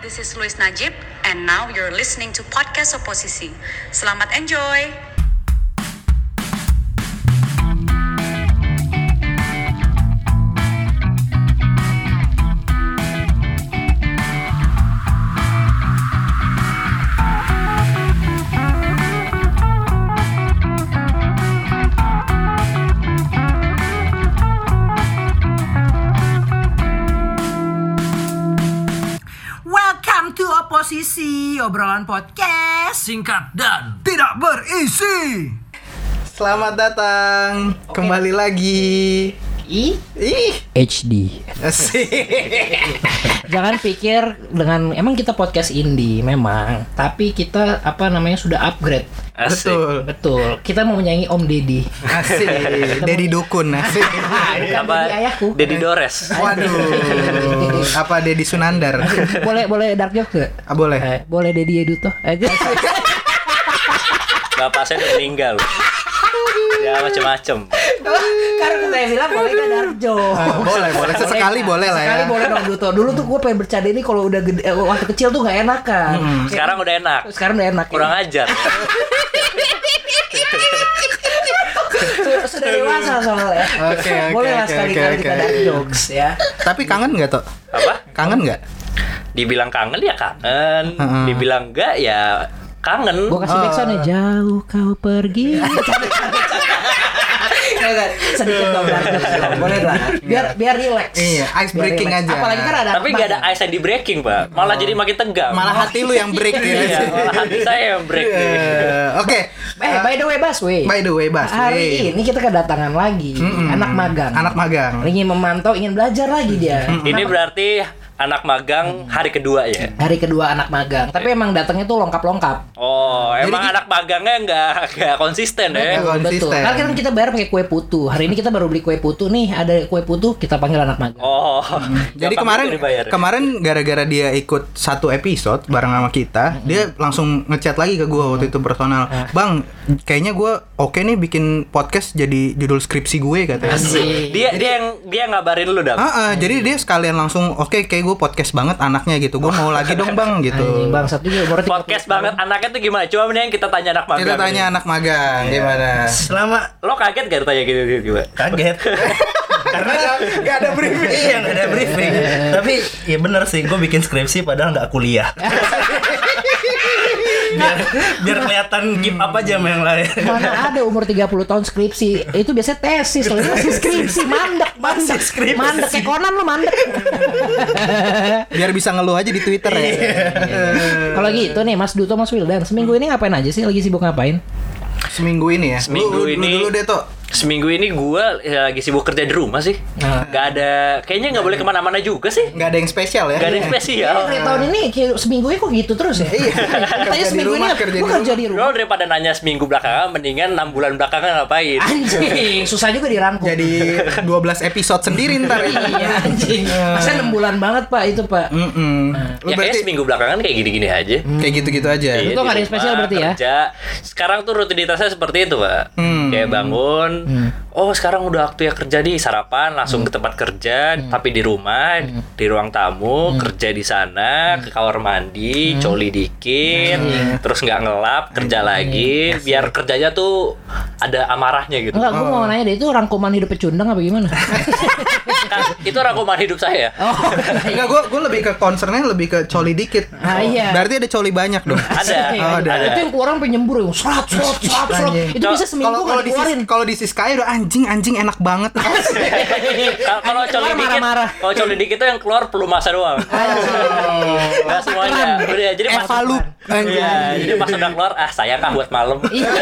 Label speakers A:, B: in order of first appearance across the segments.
A: this is Luis Najib, and now you're listening to Podcast Oposisi. Selamat enjoy!
B: Welcome to Oposisi, obrolan podcast
C: singkat dan
B: tidak berisi.
D: Selamat datang kembali lagi. Ih,
E: HD.
D: asik.
E: Jangan pikir dengan emang kita podcast indie memang, tapi kita apa namanya sudah upgrade.
C: asik.
D: Betul.
E: Betul. Kita mau menyanyi Om Deddy.
D: Asik. Dari dukun asik. Iya,
E: Bukan Deddy ayahku.
C: Dedi Dores.
D: Waduh. Apa Dedi Sunandar?
E: boleh boleh dark joke gak?
D: Ah, boleh.
E: Eh, boleh Deddy Eduto. Eh,
C: Bapak saya udah meninggal. ya macem-macem.
E: Karena saya bilang boleh gak dark joke.
D: Ah, boleh, boleh. Sesekali boleh lah ya.
E: Sekali boleh dong Duto. Dulu tuh gue pengen bercanda ini kalau udah gede, eh, waktu kecil tuh gak enak kan.
D: Hmm.
C: Sekarang udah enak.
E: Sekarang udah enak. ya.
C: Kurang ajar.
E: Sudah- Sudah dewasa soalnya.
D: Oke, oke,
E: boleh lah
D: oke,
E: sekali-kali
D: oke,
E: kita
D: oke.
E: dark jokes ya.
D: Tapi kangen nggak Tok?
C: Apa?
D: Kangen nggak?
C: Dibilang kangen ya kangen.
D: Heeh.
C: Dibilang enggak ya kangen.
E: Gue kasih backsound ya
D: Ah.
E: Jauh kau pergi Nggak, nggak. Sedikit dong Dark Jokes dong. Boleh lah Biar biar relax
D: Iya, ice
E: Biar
D: breaking
E: relax.
D: aja.
E: Apalagi kan ada
C: Tapi
E: Akmal.
C: gak ada ice yang di breaking, Pak. Malah jadi makin tegang.
D: Malah hati lu yang break gitu.
C: Iya, malah hati saya yang break.
D: Eh, Oke.
E: Eh by the way Baswe
D: By the way, Bas.
E: Hari ini kita kedatangan lagi
D: Mm-mm.
E: Anak magang
D: Anak magang.
E: Ingin memantau Ingin belajar lagi dia
C: Ini berarti anak magang hari kedua ya.
E: Hari kedua anak magang Tapi emang datangnya tuh longkap-longkap
C: Oh,
D: Jadi
C: emang
D: ki-
C: anak magangnya nggak nggak konsisten ya.
D: Nggak
E: Betul.
D: konsisten.
E: Karena kan kita bayar pakai kue putu. Hari ini kita baru beli kue putu nih. Ada kue putu kita panggil anak magang.
C: Oh.
D: Jadi
C: gampang
D: kemarin
C: gitu dibayar.
D: kemarin gara-gara dia ikut satu episode bareng sama kita, dia langsung ngechat lagi ke gua waktu itu personal.
C: Ah.
D: Bang, kayaknya gua oke nih bikin podcast jadi judul skripsi gue katanya.
E: Asik.
C: dia dia yang dia yang ngabarin lu dong.
D: Ah, ah,
C: Iya.
D: jadi dia sekalian langsung oke kayak gue podcast banget anaknya gitu. Gue mau lagi dong, Bang gitu.
E: Anjing bangsat juga umur 30.
C: podcast banget anaknya tuh gimana? Coba mending kita tanya anak magang. Iya.
D: Kita tanya
C: nih.
D: anak magang gimana?
F: selama
C: Lo kaget gak ditanya gitu gitu gitu?
F: kaget karena
D: Gak ada briefing.
F: iya nggak ada briefing tapi ya bener sih gue bikin skripsi padahal nggak kuliah biar biar kelihatan keep up aja sama yang lain
E: Mana ada umur 30 tahun skripsi Itu biasanya tesis Lu masih skripsi Mandek
F: Masih
E: Mandek
F: skripsi.
E: Mandek Kayak Conan lu mandek
D: Biar bisa ngeluh aja di Twitter ya.
C: Iya.
E: Kalau gitu nih Mas Duto Mas Wildan Seminggu ini ngapain aja sih Lagi sibuk ngapain
D: Seminggu ini ya. Lu-
C: Seminggu
D: lu- lu
C: ini-
D: dulu deh tuh.
C: Seminggu ini gue lagi sibuk kerja di rumah sih. Gak ada, kayaknya nggak boleh kemana-mana juga sih.
D: Nah. Gak ada yang spesial ya.
C: Gak ada yang
E: Iya
C: spesial.
E: tahun ini kayak seminggunya kok gitu terus ya
D: Iya.
E: Katanya
D: Kerja di
E: seminggu ini
D: rumah,
E: aku
D: kerja di
E: gua kerja di
C: Lo
E: rumah
C: daripada nanya seminggu belakangan, mendingan enam bulan belakangan ngapain?
E: Anjing Susah juga dirangkum
D: Jadi 12 episode sendiri ntar. ya.
E: Iya anjing Masa 6 bulan banget pak itu pak
D: Mm-mm. Lu
C: ya kayak
D: berarti
C: seminggu belakangan kayak gini-gini aja.
D: kayak gitu-gitu aja.
C: Iya,
E: Itu nggak
C: di
E: ada yang
C: rumah,
E: spesial berarti ya?
C: kerja. Sekarang tuh rutinitasnya seperti itu, Pak.
D: Hmm.
C: Kayak bangun,
E: Hmm.
C: oh sekarang udah waktu ya kerja nih, sarapan langsung ke tempat kerja,
E: Hmm.
C: tapi di rumah, di ruang tamu, kerja di sana,
E: Hmm.
C: ke kamar mandi, coli dikit, terus nggak ngelap, kerja
E: Hmm.
C: lagi, biar kerjanya tuh ada amarahnya gitu.
E: Iya, Enggak gue
D: Oh.
E: mau nanya deh Itu rangkuman hidup pecundang apa gimana
C: Kan, itu rangkuman hidup saya. ya.
E: Oh
D: Enggak, gue gue lebih ke concernnya lebih ke coli dikit.
E: Ah, iya.
D: Berarti ada coli banyak dong.
C: Ada,
D: Oh, ada.
C: ada.
E: Itu yang keluaran penyembur yang serat, serat, serat, serat.
D: Anjing.
E: Itu bisa seminggu
D: Kalau kalau
E: nggak
D: di sis-
E: dikeluarin.
D: kalau di Siskaya udah anjing anjing enak banget.
C: Kalau kalau
E: Yang
C: coli
E: keluar
C: dikit,
E: marah-marah. Oh.
C: kalau coli dikit tuh yang keluar masa doang. Nggak semuanya. Udah, jadi pas-
D: Evalup. Anjing.
C: Iya, jadi pas udah keluar, ah sayang ah buat malam.
E: Iya.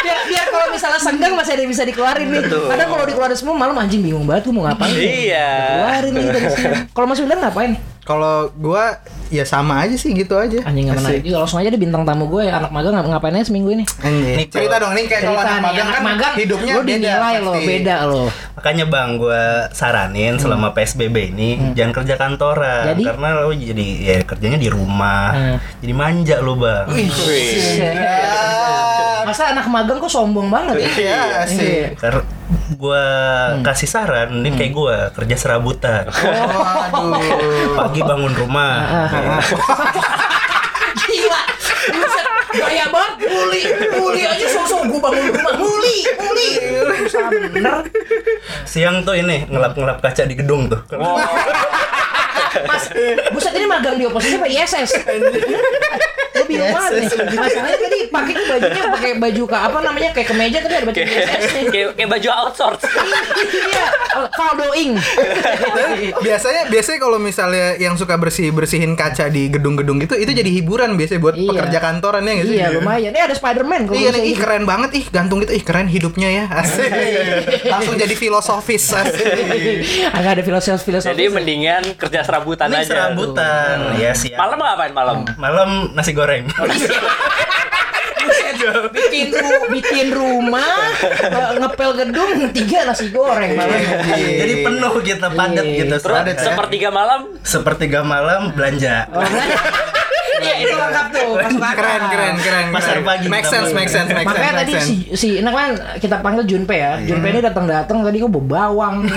E: biar, biar kalau misalnya senggang masih ada yang bisa dikeluarin nih. Kadang kalau dikeluarin semua malam anjing bingung banget gue mau ngapain.
C: Iya.
E: Keluarin lagi dari sini. Kalau Mas Wildan ngapain?
D: Kalau gue ya sama aja sih gitu aja.
E: Anjing nggak menarik.
D: Asik.
E: Juga langsung aja deh bintang tamu gue anak magang ngap- ngapain aja seminggu ini.
D: Anjing. Cerita dong nih kayak kalau
E: Cerita
D: anak
E: nih,
D: magang kan hidupnya
E: lo
D: beda
E: dinilai lo
D: pasti.
E: beda lo.
F: makanya bang gue saranin selama psbb ini jangan kerja kantoran
E: Jadi?
F: karena lo jadi ya kerjanya di rumah
E: Hmm.
F: jadi manja lo bang
C: Wih.
E: Masa anak magang kok sombong banget ya?
D: Iya, asik.
F: Kar- gua kasih saran ini kayak gua kerja serabutan
D: Oh. Waduh.
F: pagi bangun rumah
E: Gila. Buset, Gaya banget muli, muli aja sosok gue bangun rumah muli, muli. Bener.
F: siang tuh ini ngelap ngelap kaca di gedung tuh
C: Oh,
E: Mas, buset ini magang di oposisi apa ISS? Gue bingung banget nih. Masalahnya tadi pakai bajunya pakai baju ke apa namanya kayak kemeja tapi ada baju ISS nih.
C: kayak kayak baju outsource
E: Iya, Faldoing.
D: Iya, biasanya biasanya kalau misalnya yang suka bersih bersihin kaca di gedung-gedung gitu itu jadi hiburan biasanya buat
E: Iya.
D: pekerja kantoran ya nggak sih
E: Iya lumayan. Eh ada Spiderman kalau
D: Iya,
E: bisa
D: nih, ih
E: gitu.
D: keren banget ih gantung gitu ih keren hidupnya ya asik langsung jadi filosofis asik.
E: Agak ada filosofi filosofi.
C: jadi mendingan kerja serabutan
F: ini
C: aja
F: serabutan ya siang
C: malam ngapain malam
F: malam nasi goreng
E: bikin ru- bikin rumah eh, ngepel gedung tiga nasi
D: Iya.
E: goreng malah.
F: jadi penuh gitu padat gitu
C: terus
D: kan?
F: Padat ya.
C: sepertiga malam
F: sepertiga malam belanja
E: Iya itu lengkap tuh. masuk akal.
D: keren keren keren
F: Pasar
D: keren.
F: pagi,
D: make sense
F: tambah.
D: make sense make sense
E: Makanya
D: make
E: tadi
D: sense.
E: si si enak kan kita panggil Junpe ya. Junpe ini datang-datang tadi gue bawa bawang.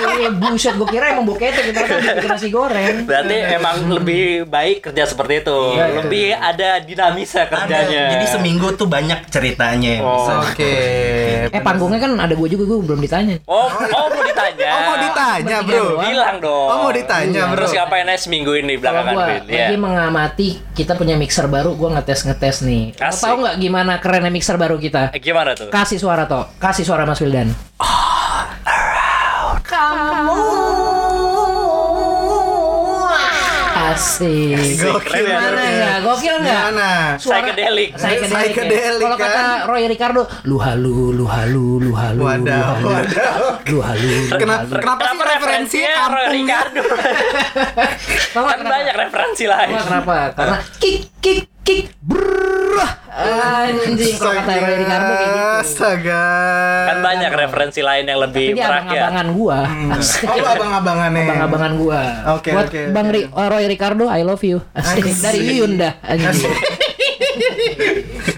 E: Iya buset gue kira emang bokete kita kan bikin nasi goreng.
C: berarti
D: Iya.
C: emang lebih baik kerja seperti itu lebih ada dinamisa
F: ada
C: kerjanya
F: jadi seminggu tuh banyak ceritanya yang
D: Oh.
F: bisa.
D: oke
E: Eh panggungnya kan ada gue juga gue belum ditanya.
C: oh oh mau ditanya
D: oh mau ditanya bro
C: bilang dong
D: oh mau ditanya bro
C: terus ngapain aja seminggu ini
E: Kalau
C: belakangan
E: gue
C: Vin? Iya.
E: lagi mengamati kita punya mixer baru gue ngetes ngetes nih. Lo
C: Asik.
E: tau nggak gimana kerennya mixer baru kita?
C: Eh, gimana tuh
E: Kasih suara toh, kasih suara Mas Wildan. kamu asik.
D: gokil
E: Gimana
D: bro.
E: ya? Gokil nggak?
D: Gimana?
C: Psychedelic.
E: Psychedelic.
D: Psychedelic,
E: ya. Kalau kata
D: kan?
E: Roy Ricardo, lu halu, lu halu, lu halu,
D: Waduh,
E: lu halu,
D: waduh.
E: lu halu. lu
D: Kena-
E: halu.
D: kenapa sih referensi
C: Roy
D: kampung ya?
C: Ricardo?
E: Tau nggak
C: kan banyak referensi lain.
E: Wah, kenapa? Karena kick kick kick brrrr. Anjing kalau kata Roy Ricardo kayak gitu.
D: astaga
C: Kan
D: Iya,
C: banyak referensi lain yang lebih ya.
E: Ini
C: merakyat.
E: abang-abangan gua.
D: oh lu abang-abangannya
E: Abang-abangan gua.
D: Oke,
E: Buat
D: oke,
E: Bang Ri- oh, Roy Ricardo, I love you. Asik.
D: Asik.
E: Dari Yunda. Anjing.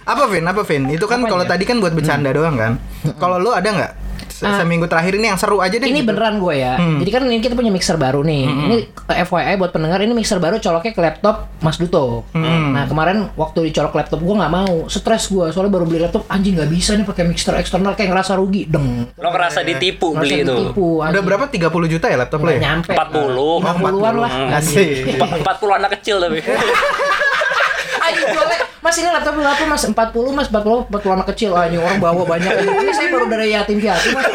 D: apa Vin apa Vin itu kan kalau tadi kan buat bercanda doang kan kalau lu ada nggak se- seminggu terakhir ini yang seru aja deh
E: Ah. ini
D: gitu. Hmm,
E: beneran gue ya. Jadi kan ini kita punya mixer baru nih. Ini eh, FYI buat pendengar ini mixer baru coloknya ke laptop Mas Duto.
D: Hmm.
E: Nah kemarin waktu dicolok laptop gue nggak mau, stres gue soalnya baru beli laptop anjing nggak bisa nih pakai mixer eksternal kayak ngerasa rugi deng.
C: Lo ngerasa
E: Iya,
C: ditipu
E: Ngerasa
C: beli itu.
E: ditipu, Iya. anjing.
D: udah berapa 30 juta ya laptop lo
E: Nggak
D: ya
E: nyampe.
C: 40.
E: 50-an lah.
D: Asik.
C: Empat- 40 anak kecil tapi.
E: Iya, Anjing jualnya, Mas ini laptop berapa mas? 40 mas, 40, 40 anak kecil anjing orang bawa banyak. Ini saya baru dari yatim piatu mas.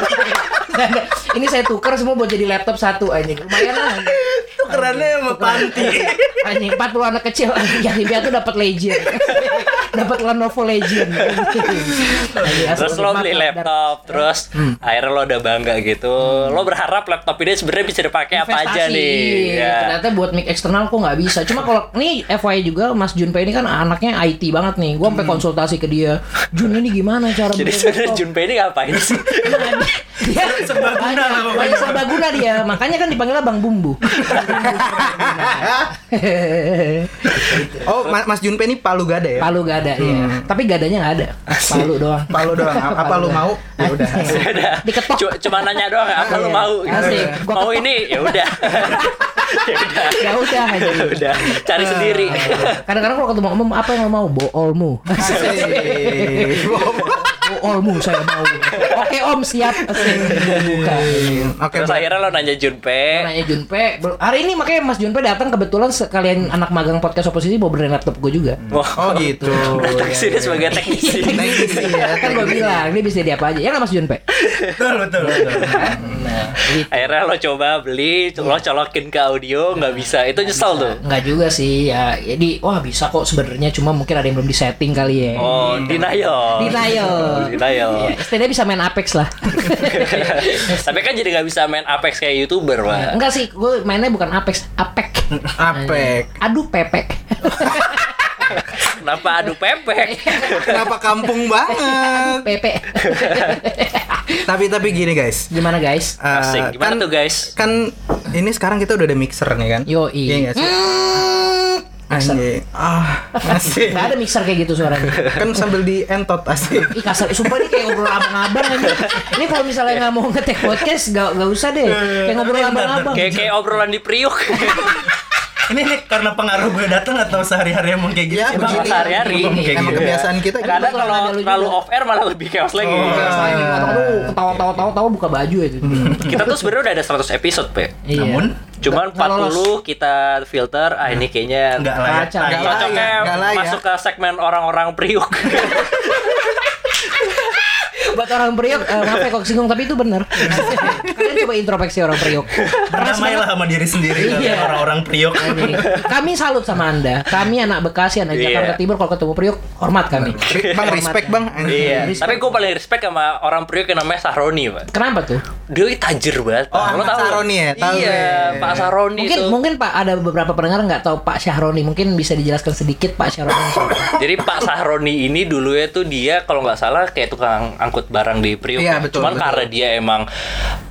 E: ini saya tukar semua buat jadi laptop satu anjing. Lumayan lah. anjing.
F: tukerannya sama panti
E: Anjing 40 anak kecil yatim piatu dapat legend. dapat Lenovo Legend. Anjing, asal
C: terus lo
E: umat
C: beli
E: lah.
C: laptop,
E: Hmm.
C: terus akhirnya lo udah bangga gitu. Lo berharap laptop ini sebenarnya bisa dipakai apa aja
E: Investasi.
C: nih. Ya.
E: Ternyata buat mic eksternal kok nggak bisa. Cuma kalau nih FYI juga Mas Junpei ini kan anaknya IT banget nih. Gua sampai konsultasi ke dia. Jun ini gimana cara
C: Hmm. Jadi
E: bikin
C: sebenarnya
E: laptop?" Iya.
C: Junpei ini ngapain sih?
E: dia
F: Serbaguna lah pokoknya.
E: Banyak serbaguna dia, makanya kan dipanggilnya Bang Bumbu.
D: oh Ma- Mas Junpe ini palu gada ya
E: Palu gak ada ya.
C: Hmm.
E: Tapi gadanya gak ada. Palu doang.
D: palu doang apa, apa lu
E: doang.
D: mau ya udah asik.
C: Udah.
E: Diketok.
C: Cu- Cuma nanya doang apa lo
E: Iya.
C: mau gitu.
E: Asik. Gua
C: Mau
E: ketok.
C: ini ya udah. ya udah.
E: Ya udah aja.
C: Ya udah. Cari sendiri.
E: Kadang-kadang kalau ketemu umum apa yang lo mau? Boolmu. Boolmu saya Oh, mau. Iya, Oke Om siap. Oke. Buka.
D: oke
C: Terus
D: bro.
C: akhirnya lo nanya Junpei,
E: Nanya Junpe, bel- hari ini makanya Mas Junpe datang kebetulan sekalian anak magang podcast oposisi mau benerin laptop gue juga.
D: oh gitu
C: datang
E: iya,
C: sini sebagai teknisi.
D: Teknisi ya,
E: kan gue bilang dia bisa jadi apa aja. Ya nggak Mas Junpe?
F: betul betul betul
C: Akhirnya lo coba beli, lo colokin ke audio nggak bisa, itu nyesel tuh.
E: Nggak juga sih ya. Jadi wah bisa kok sebenarnya cuma mungkin ada yang belum disetting kali ya.
C: Oh,
F: Hmm.
C: denial.
E: Denial. Iya.
C: Denial.
E: Setidaknya bisa main Apex lah.
C: Tapi kan jadi nggak bisa main Apex kayak youtuber lah.
E: Enggak sih, gue mainnya bukan Apex, Apek.
D: apek
E: Aduh pepek.
C: Kenapa adu pepek?
D: kenapa kampung banget
E: Pepe.
D: tapi tapi gini guys
E: Gimana guys?
D: Eh,
F: Ah,
C: Asik. Gimana tuh guys?
D: kan ini sekarang kita udah ada mixer nih kan
E: Yoi.
D: iya nggak sih Anjing. Ah, masih.
E: Gak ada mixer kayak gitu suaranya.
D: kan sambil dientot asik.
E: Ih kasar, Eh, sumpah ini kayak ngobrol abang-abang ini. Ini kalau misalnya nggak mau ngetek podcast, nggak nggak usah deh. Kayak ngobrol abang-abang.
C: Iya, Kayak kayak obrolan di Priuk.
F: Ini nih karena pengaruh gue datang atau sehari-hari emang kayak gitu.
D: Ya,
F: Emang
D: begini.
C: sehari-hari.
F: Emang kayak
D: Emang
F: gitu.
D: kebiasaan kita gitu.
C: Kadang kalau
E: Ada lu juga.
C: terlalu off air malah lebih chaos lagi.
F: Oh, iya.
E: gitu.
C: Iya,
E: Aduh, ketawa-tawa-tawa buka baju itu.
C: Kita tuh sebenarnya udah ada 100 episode, Pe.
E: Iya.
F: Namun
C: Cuman
E: Nggak lolos.
C: 40 kita filter, ah ini kayaknya
F: nggak layak.
E: Kacau.
D: Nggak
F: tayang.
D: layak.
C: cocoknya
D: nggak layak.
C: masuk ke segmen orang-orang Priuk.
E: buat orang Priok, eh, maaf ya kok singgung tapi itu benar. Kalian coba introspeksi orang Priok. Keras banget.
F: Berdamailah sama diri sendiri
E: Iya.
F: kalian orang-orang priok.
E: Ini. Kami salut sama Anda. Kami anak Bekasi, anak
C: Iya.
E: Jakarta Timur kalau ketemu Priok hormat kami.
D: Bang respect bang. Anjing.
C: Iya. Tapi gue paling respect sama orang Priuk yang namanya Sahroni, Pak.
E: Kenapa tuh?
C: Dia tajir banget. Pak.
D: Oh,
C: Lo
D: Ahmad
C: tahu?
D: Sahroni ya? Tahu
C: Iya,
D: ya.
C: Pak Sahroni
E: Mungkin
C: tuh.
E: mungkin Pak ada beberapa pendengar nggak tahu Pak Syahroni. Mungkin bisa dijelaskan sedikit Pak Syahroni.
C: Jadi Pak Sahroni ini dulunya tuh dia kalau nggak salah kayak tukang angkut barang di Priuk. ya.
D: Iya, betul,
C: Cuman
D: betul. Hmm.
C: karena dia emang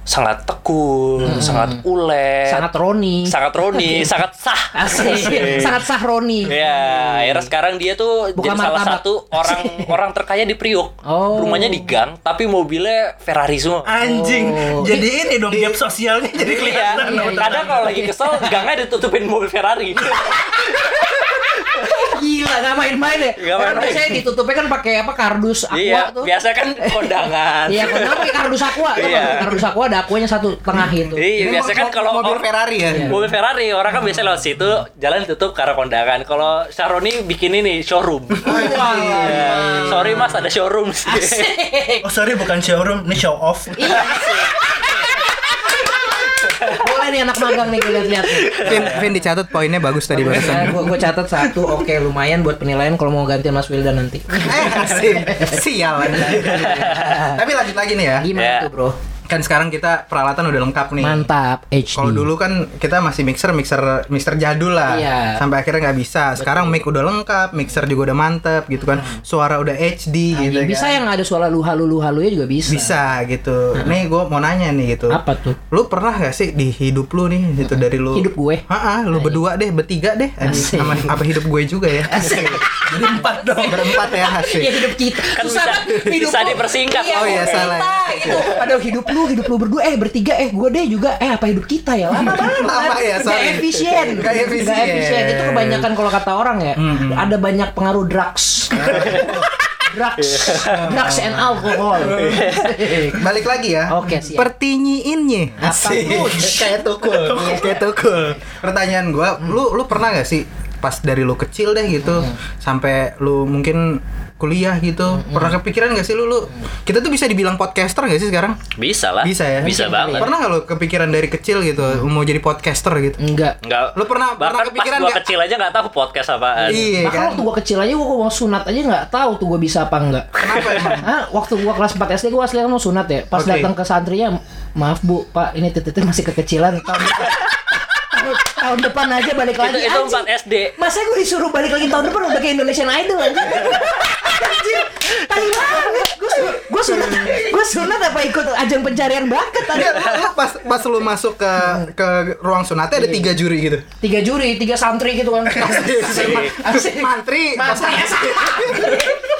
C: sangat tekun, sangat ulet,
E: Sangat Roni.
C: Eh, sangat Roni, sangat sah.
E: Asik. Sangat Sahroni.
C: Ya, akhirnya sekarang dia tuh
E: Bukan
C: jadi salah
E: martabak.
C: satu orang orang terkaya di Priuk.
E: Oh.
C: Rumahnya di gang, tapi mobilnya Ferrari
F: Ah,
C: semua.
F: Anjing. Jadi ini dong gap sosialnya jadi kelihatan.
C: Iya, kadang kalau lagi kesel gangnya ditutupin mobil Ferrari.
E: Gila, nggak main-main ya.
C: Nggak
E: Orang
C: main-main.
E: biasanya ditutupnya kan pakai apa kardus aqua
C: iya,
E: tuh.
C: biasa kan kondangan.
E: Iya, kenapa pakai kardus aqua? Tuh,
C: Iya.
E: Kardus aqua ada aquanya satu tengah itu.
C: Iya,
D: Ini
C: biasa
D: mo-
C: kan
D: mo-
C: kalau
D: mobil Ferrari ya.
E: Iya.
C: Mobil Ferrari orang kan biasa lewat situ jalan tutup karena kondangan. Kalau Sharoni bikin ini showroom. Iya. Sorry Mas ada showroom sih.
F: Oh sorry bukan showroom, ini show off.
E: Boleh nih anak magang nih gue lihat-lihat. nih.
D: Vin, Vin dicatat poinnya bagus tadi
E: Nah,
D: barusan.
E: gue gue catat satu, oke lumayan buat penilaian kalau mau gantiin Mas Wildan nanti.
D: Eh, asik. Sial Anda. Tapi lanjut lagi nih ya.
E: Gimana
C: Ya.
E: tuh bro?
D: Kan sekarang kita peralatan udah lengkap nih.
E: Iya. Mantap, HD.
D: Kalau dulu kan kita masih mixer mixer mixer jadul lah.
E: Iya.
D: Sampai akhirnya nggak bisa. Sekarang mic udah lengkap, mixer juga udah mantep gitu kan.
E: Hmm.
D: Suara udah
E: Nah,
D: HD gitu kan.
E: bisa yang ada suara lu halu lu halunya juga bisa.
D: bisa gitu. Nih gue mau nanya nih gitu.
E: Hmm. Apa tuh?
D: Lu pernah gak sih di hidup lu nih gitu dari lu
E: Hidup gue? Nah,
D: Ha
E: iya.
D: lu berdua deh, bertiga deh. Anjing,
E: Asik.
D: sama apa hidup gue juga ya. Jadi empat dong. Berempat ya
E: Ya
D: asik.
E: hidup kita.
D: Kan
E: Susah
C: bisa-
E: banget hidup
C: bisa
E: lu.
C: dipersingkat.
E: Iya,
D: Oh, iya,
E: hidup
D: salah.
E: Kita, gitu. Padahal hidup lu, hidup lu berdua, eh bertiga, eh gue deh juga, eh apa hidup kita ya? Lama banget.
D: Lama ya,
E: Nggak
D: sorry.
E: efisien.
D: Nggak efisien. Mm-hmm.
E: Nggak Itu kebanyakan kalau kata orang ya, ada banyak pengaruh drugs. drugs, drugs and alcohol.
D: Balik lagi ya.
E: Oke, siap.
D: Pertinyiinnya. Asik.
F: Iya.
D: Kayak tukul. Iya, Kayak tukul. Pertanyaan gue, lu lu pernah gak sih pas dari lu kecil deh gitu sampai lu mungkin kuliah gitu pernah kepikiran gak sih lu lu kita tuh bisa dibilang podcaster gak sih sekarang
C: Bisa lah.
D: bisa ya
C: Ah, Bisa banget.
D: pernah gak lu kepikiran dari kecil gitu mau jadi podcaster gitu
E: Enggak.
C: Enggak.
D: Lu pernah- pernah
C: bahkan pas
D: kepikiran
C: gua
D: nggak?
C: kecil aja nggak tahu podcast apaan.
D: Iya
E: Bahkan
D: kan?
E: waktu gue kecil aja gue mau sunat aja nggak tahu tuh gue bisa apa enggak.
D: Kenapa emang?
E: Hah? waktu gua kelas 4 SD gua asli mau sunat ya. Pas
D: Oke.
E: datang ke santrinya, maaf Bu, Pak, ini titiknya masih kekecilan tahun depan. tahun, tahun depan aja balik
C: Itu
E: lagi.
C: itu
E: anjing.
C: 4 SD.
E: Masa gue disuruh balik lagi tahun depan udah kayak Indonesian Idol aja. Tai banget. Gue su- gue sunat, gue sunat apa ikut ajang pencarian bakat tadi.
D: Iya, lu- lu pas pas lu masuk ke ke ruang sunatnya ada tiga juri gitu.
E: Tiga juri, tiga santri gitu kan. Asik.
D: Mantri.
E: Mantri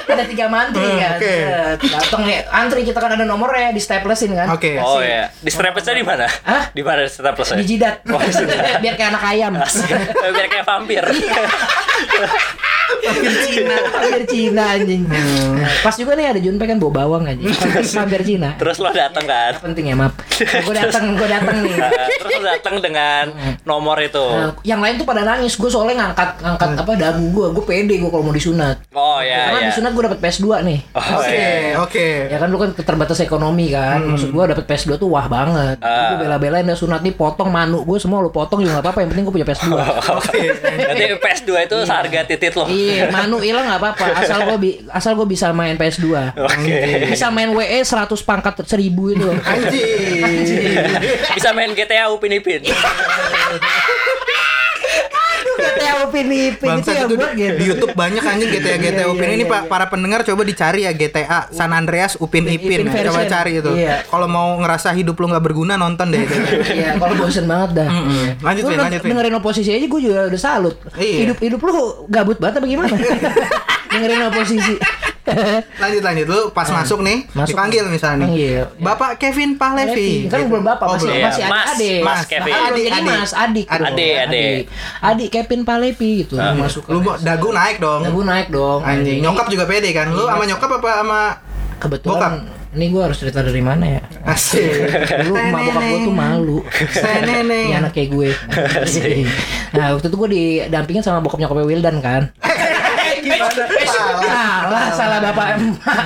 E: ada tiga mantri
D: Hmm,
E: kan.
D: Oke.
E: Set, Dateng nih antri kita kan ada nomornya di staplesin kan.
D: Oke.
C: Oh ya, di straplessnya di mana?
E: Hah?
C: Di mana di straplessnya?
E: Di jidat.
C: Oh, di jidat.
E: Biar kayak anak ayam.
C: Eh, Biar kayak vampir.
E: Iya. Hampir Cina, hampir Cina anjing.
C: Hmm.
E: Pas juga nih ada Junpei kan bawa bawang anjing. Hampir Cina.
C: Terus lo datang kan?
E: Penting ya, maaf. Gue dateng, gue dateng nih.
C: Nah, Terus lo datang dengan
E: Iya.
C: nomor itu.
E: Nah, yang lain tuh pada nangis, gue soalnya ngangkat ngangkat
C: Hmm.
E: apa dagu gue, gue pede gue kalau mau disunat.
C: Oh ya
E: Karena
C: ya.
E: disunat gue dapet PS2 nih.
C: Oh,
D: Oke,
C: ya.
D: oke.
E: Ya kan lu kan keterbatas ekonomi kan. Maksud gua dapet PS2 tuh wah banget.
C: Hmm. Ah.
E: Gue bela-belain ya sunat nih potong manu gue semua lu potong juga gak apa-apa yang penting gue punya PS2.
C: Nanti PS2 itu seharga titit lo.
E: iya, manu hilang gak apa-apa asal gue bi- asal gue bisa main PS2.
C: Oh. Oke.
E: Bisa main WE 100 pangkat 1000 itu.
D: Anjing.
E: Iya.
C: Bisa main GTA Upin Ipin.
E: GTA Upin Ipin itu
D: Bangsa
E: yang
D: itu
E: buat
D: di,
E: gitu.
D: di YouTube banyak anjing GTA
E: Iya,
D: GTA Upin ini Pak, para pendengar coba dicari ya GTA San Andreas Upin
E: Upin
D: Ipin,
E: Ipin
D: coba
E: version.
D: cari itu.
E: Iya.
D: Kalau mau ngerasa hidup lu nggak berguna nonton deh.
E: Iya, kalau bosen banget dah.
D: Mm-mm. Lanjut,
E: Gua
D: Vin,
E: deng-
D: lanjut, Vin.
E: Dengerin oposisi aja gue juga udah salut.
D: Iya.
E: Hidup hidup lu gabut banget apa gimana? dengerin oposisi.
D: lanjut lanjut lu pas masuk nih
E: Hmm. Masuk.
D: dipanggil misalnya nih.
E: Panggil.
D: Bapak Kevin Pahlevi.
E: Kan
D: Gitu.
E: belum bapak
D: Oh,
E: masih
D: belum.
C: Iya,
E: masih
C: Mas,
E: adik.
C: Mas Kevin.
E: Bahkan belum
D: Adik,
E: jadi
D: adik.
E: Mas adik. gitu.
C: Adik, adik.
E: Adik Kevin Palepi gitu. Masuk ke
D: Nah, Lu mau- dagu naik dong.
E: Nah, gue naik Iya. dong.
D: Anjing,
E: Ini-
D: nyokap juga pede kan? Lu sama nyokap apa sama bokap?
E: Kebetulan ini gue harus cerita dari mana ya?
D: Asik.
E: Dulu emak bokap gue tuh malu.
D: Seneneng.
E: Ini anak kayak gue. nah waktu itu gue didampingin sama bokap nyokapnya Wildan kan.
D: Salah.
E: Salah, salah bapak emak.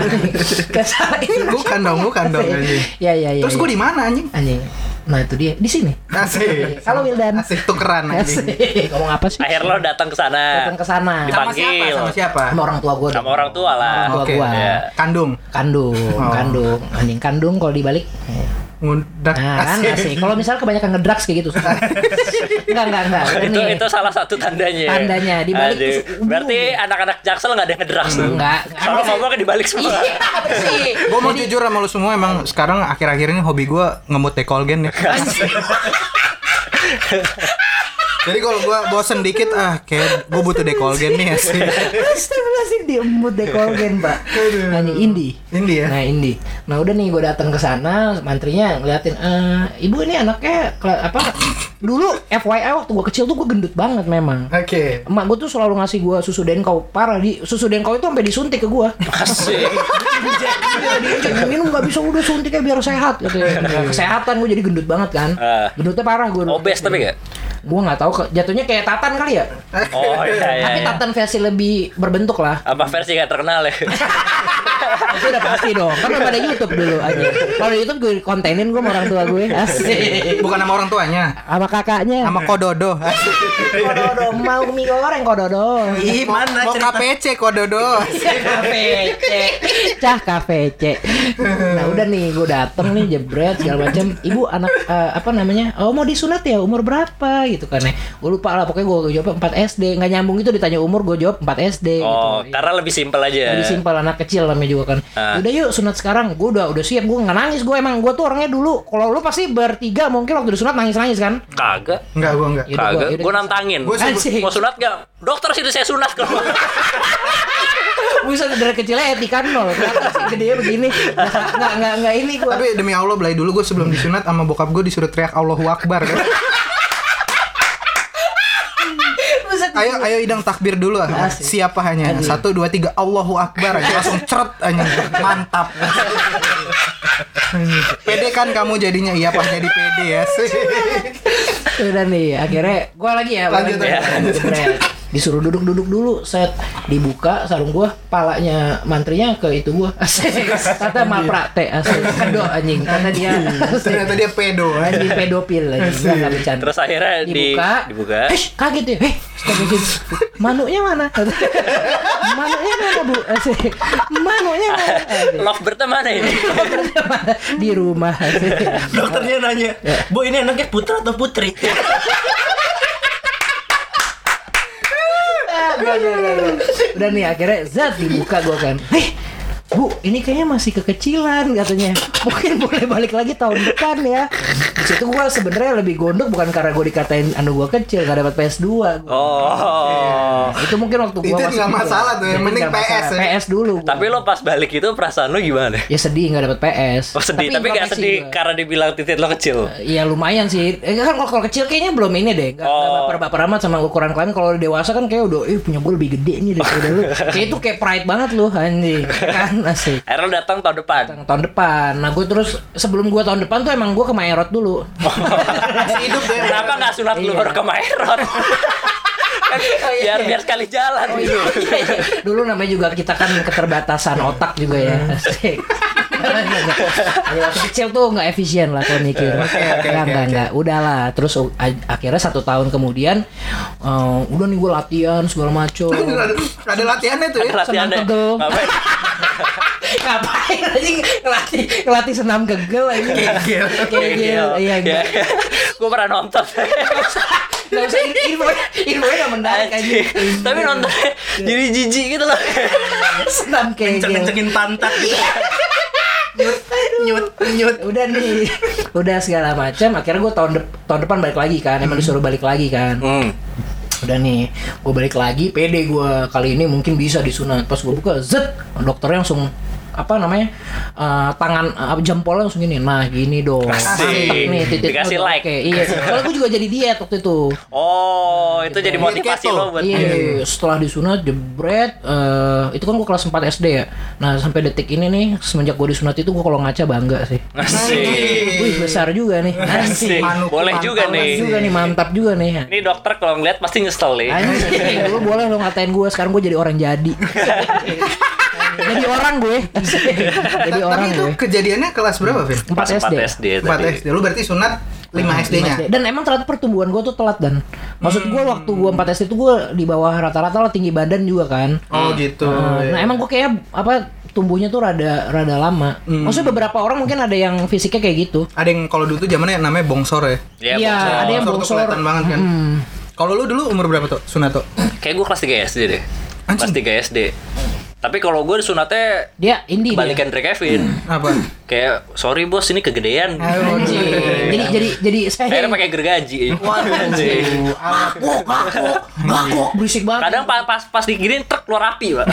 E: Kesalah ini.
D: Bukan dong, bukan dong. anjing.
E: Ya ya ya.
D: Terus gue di mana anjing?
E: anjing. Nah itu dia di sini.
D: Asik.
E: Halo Wildan.
D: Asik tukeran anjing.
E: Asik. Ngomong apa sih?
C: Akhir lo datang ke sana.
E: Datang ke sana.
D: Sama siapa?
C: Dipanggil.
D: Sama siapa?
E: Sama orang tua gue.
C: Sama orang tua lah.
E: Orang tua
D: Oke. Oh.
E: gua.
C: Iya.
D: Kandung.
E: Kandung, kandung, anjing kandung kalau dibalik.
D: Ngundak.
E: Nah, kan asik. Kalau misalnya kebanyakan ngedrags kayak gitu. susah. enggak, enggak, enggak.
C: itu
E: Ini.
C: itu salah satu tandanya.
E: Tandanya, di balik
C: Aduh.
E: terus ungu.
C: Berarti anak-anak Jaksel nggak ada yang ngedrugs tuh.
E: Enggak.
C: Soalnya ngomongnya di balik semua.
E: Iya, apa sih?
D: Gue mau jujur sama lu semua emang sekarang akhir-akhir ini hobi gue ngemut dekolgen ya. Jadi kalau gue bosen dikit ah kayak gue butuh dekolgen nih asik.
E: Astagfirullahaladzim diembut deh kolgen pak Hanya Indi
D: Indi ya?
E: Nah Indi Nah udah nih gue datang ke sana Mantrinya ngeliatin eh Ibu ini anaknya kela- apa Dulu FYI waktu gue kecil tuh gue gendut banget memang
D: Oke.
E: Emak gue tuh selalu ngasih gue susu denkau Parah di Susu denkau itu sampai disuntik ke gue
C: Asik.
E: Iya, dia jadi minum gak bisa udah suntiknya biar sehat katanya. Nah, Kesehatan gue jadi gendut banget kan
C: Ah.
E: Gendutnya parah gue
C: Obes tapi nggak?
E: Gue gak tau Jatuhnya kayak tatan kali ya
C: Oh iya iya.
E: Tapi
C: iya.
E: tatan versi lebih berbentuk lah
C: Apa versi nggak terkenal
E: Iya,
C: ya?
E: gitu, Itu udah pasti dong. Kan belum ada YouTube dulu aja. Kalau di YouTube gue kontenin gue sama orang tua gue. Asik.
D: Bukan sama orang tuanya,
E: Sama kakaknya.
D: sama kododo. Asik.
E: Kododo mau mie goreng kododo.
F: Ih, mana
D: Iya, Mau
F: cerita?
D: KPC kododo.
E: Kafe C. Iya, Cah kafe C. Nah, udah nih gue dateng nih jebret segala macam. Ibu anak eh, apa namanya? Oh, mau disunat ya? Umur berapa gitu kan ya. Gue lupa lah pokoknya gue jawab 4 SD. Nggak nyambung itu ditanya umur gue jawab 4 SD gitu.
C: Oh, karena lebih simpel aja.
E: Jadi simpel anak kecil namanya juga kan.
C: Ah.
E: Udah yuk sunat sekarang. Gue udah udah siap. Gue nggak nangis. Gue emang gue tuh orangnya dulu. Kalau lu pasti bertiga mungkin waktu disunat nangis nangis kan.
C: Kagak.
D: Enggak, gue enggak.
E: Yaudah, gua-
C: Kagak.
E: yaudah.
C: Gue nantangin.
D: Gua
E: Anjing.
C: Mau sunat nggak? Dokter sih saya sunat kalau.
E: Bisa dari kecilnya etika nol. Kenapa sih gedenya begini? Nggak nggak- nggak nggak ini gue.
D: Tapi demi Allah belai dulu gue sebelum disunat sama bokap gue disuruh teriak Allahu Akbar.
E: Buset.
D: ayo ayo idang takbir dulu ah.
E: Asik.
D: Siapa hanya satu dua tiga Allahu Akbar aja. langsung ceret aja mantap. pede kan kamu jadinya iya pas jadi pede ya sih.
E: Udah nih, akhirnya gua lagi ya. gua
D: Lanjut,
E: lagi.
D: lanjut.
E: Jebret. Disuruh duduk-duduk dulu, set dibuka sarung gua, palanya mantrinya ke itu gua. Asik. Kata malpraktek, asik. Kedok anjing. Kata dia asik.
D: Ternyata dia pedo aja.
E: anjing pedofil anjing. Gua nggak bercanda.
C: Terus akhirnya di-
E: dibuka.
C: dibuka.
E: Eh, kaget ya. Eh, astagfirullahaladzim. Manuknya mana? Manuknya mana, Bu? Asik. Manuknya mana? Asik.
C: Love Bird mana ini?
E: Di rumah. Asik.
F: Dokternya nanya, Bu ini anaknya putra atau putri?
E: Enggak, enggak, enggak, enggak. Udah nih akhirnya zat dibuka gua kan. Eh, Bu, ini kayaknya masih kekecilan katanya. Mungkin boleh balik lagi tahun depan ya. Di situ gua sebenarnya lebih gondok bukan karena gua dikatain anu gua kecil, gak dapat PS2. Gua.
C: Oh.
E: Nah, itu mungkin waktu gua
D: Itu
E: masih
D: nggak
E: kecil.
D: masalah tuh, yang
E: Itu
D: penting
E: nggak masalah.
D: PS ya.
E: PS dulu. gua.
C: Tapi lo pas balik itu perasaan lo gimana?
E: ya sedih nggak dapat PS.
C: Oh sedih, tapi, nggak
E: introspeksi
C: sedih
E: gua.
C: karena dibilang titik lo kecil.
E: Iya lumayan sih. Eh, kan kalau kalau kecil kayaknya belum ini deh. Gak,
C: Oh.
E: baper-baper amat sama ukuran kalian. Kalau dewasa kan kayak udah, eh punya gue lebih gede nih daripada lu. Kayak itu kayak pride banget lu, anjing. Kan asik.
C: Akhirnya lo datang tahun depan.
E: Datang tahun depan. Nah gue terus sebelum gue tahun depan tuh emang gue ke Maerot dulu.
D: Masih hidup ya.
C: Kenapa nggak sunat lu
E: Iya.
C: baru ke Maerot? Kan
E: Oh,
C: biar biar sekali jalan.
D: Oh, iya.
E: iya. dulu namanya juga kita kan keterbatasan otak juga ya.
D: Hmm.
E: Asik. Ya, waktu kecil tuh nggak efisien lah kalau mikir.
D: oke,
E: Nggak,
D: oke,
E: nggak,
D: oke.
E: nggak. Udahlah. Terus uh, a- akhirnya satu tahun kemudian, eh, udah nih gue latihan segala macem.
D: Ada, ada latihannya tuh ya.
C: Latihan deh.
E: tegel.
C: Ngapain?
E: Ngapain aja ngelatih ngelatih senam gegel aja. Gegel. Iya.
C: gitu. Iya.
E: Iya.
C: Gue pernah nonton.
E: Gak usah info, info gak menarik aja.
C: Tapi nonton jadi jijik gitu loh.
E: Senam kayaknya.
F: Cengin-cengin pantat gitu. nyut, nyut, nyut.
E: Udah nih, udah segala macam. Akhirnya gue tahun dep- tahun depan balik lagi kan, emang disuruh balik lagi kan.
C: Hmm.
E: udah nih gue balik lagi pede gue kali ini mungkin bisa disunat pas gue buka zet dokternya langsung apa namanya eh, tangan eh, jempolnya langsung gini nah gini dong
C: Asik.
E: Mantep titik
C: Dikasih
E: lu.
C: like.
E: Oke, iya soalnya gue juga jadi diet waktu itu
C: Oh, itu jadi
D: keto.
C: motivasi lo buat
E: iya setelah disunat jebret eh, itu kan gue kelas 4 SD ya nah sampai detik ini nih semenjak gue disunat itu gue kalau ngaca bangga sih
C: Asik.
E: Wih besar juga nih Iya.
C: Asik.
D: Manuk-
C: Boleh
D: mantap
C: juga
E: Mantap
C: nih.
E: juga nih mantap juga nih
C: Ini dokter kalau ngeliat pasti nyesel nih.
E: Iya. Anjing, lu boleh lu ngatain gue sekarang gue jadi orang jadi. jadi orang gue. jadi
D: Ta-
E: orang ya.
D: Tapi itu
E: gue.
D: kejadiannya kelas berapa, Vin?
E: 4
C: Pas
E: SD.
C: 4 SD
D: 4
C: Iya, tadi.
D: SD. Lu berarti sunat 5 SD-nya.
E: Dan emang ternyata pertumbuhan gue tuh telat dan maksud gue waktu gue 4 SD tuh gue di bawah rata-rata lah tinggi badan juga kan.
D: Oh, gitu.
E: Nah emang gue kayak apa tumbuhnya tuh rada rada lama.
D: Hmm.
E: Maksudnya beberapa orang mungkin ada yang fisiknya kayak gitu.
D: Ada yang kalau dulu tuh zamannya namanya bongsor ya.
C: Iya,
E: Iya, ada
C: bongsor.
E: yang
D: Bongsor tuh
E: bongsor.
D: kelihatan banget kan. Kalau lu dulu umur berapa tuh sunat tuh?
C: Kayak gue kelas 3 SD deh.
D: Anjing.
C: Kelas 3 SD. Tapi kalau gue sunatnya
E: Dia indie dia.
C: balikan dari Kevin.
D: Apa?
C: Kayak sorry bos ini kegedean.
D: Aduh,
E: Jadi jadi jadi saya
C: Akhirnya pakai gergaji. Anjing.
E: ngakuk ngakuk ngakuk berisik banget.
C: Kadang pas pas, pas diginiin truk keluar api, Pak.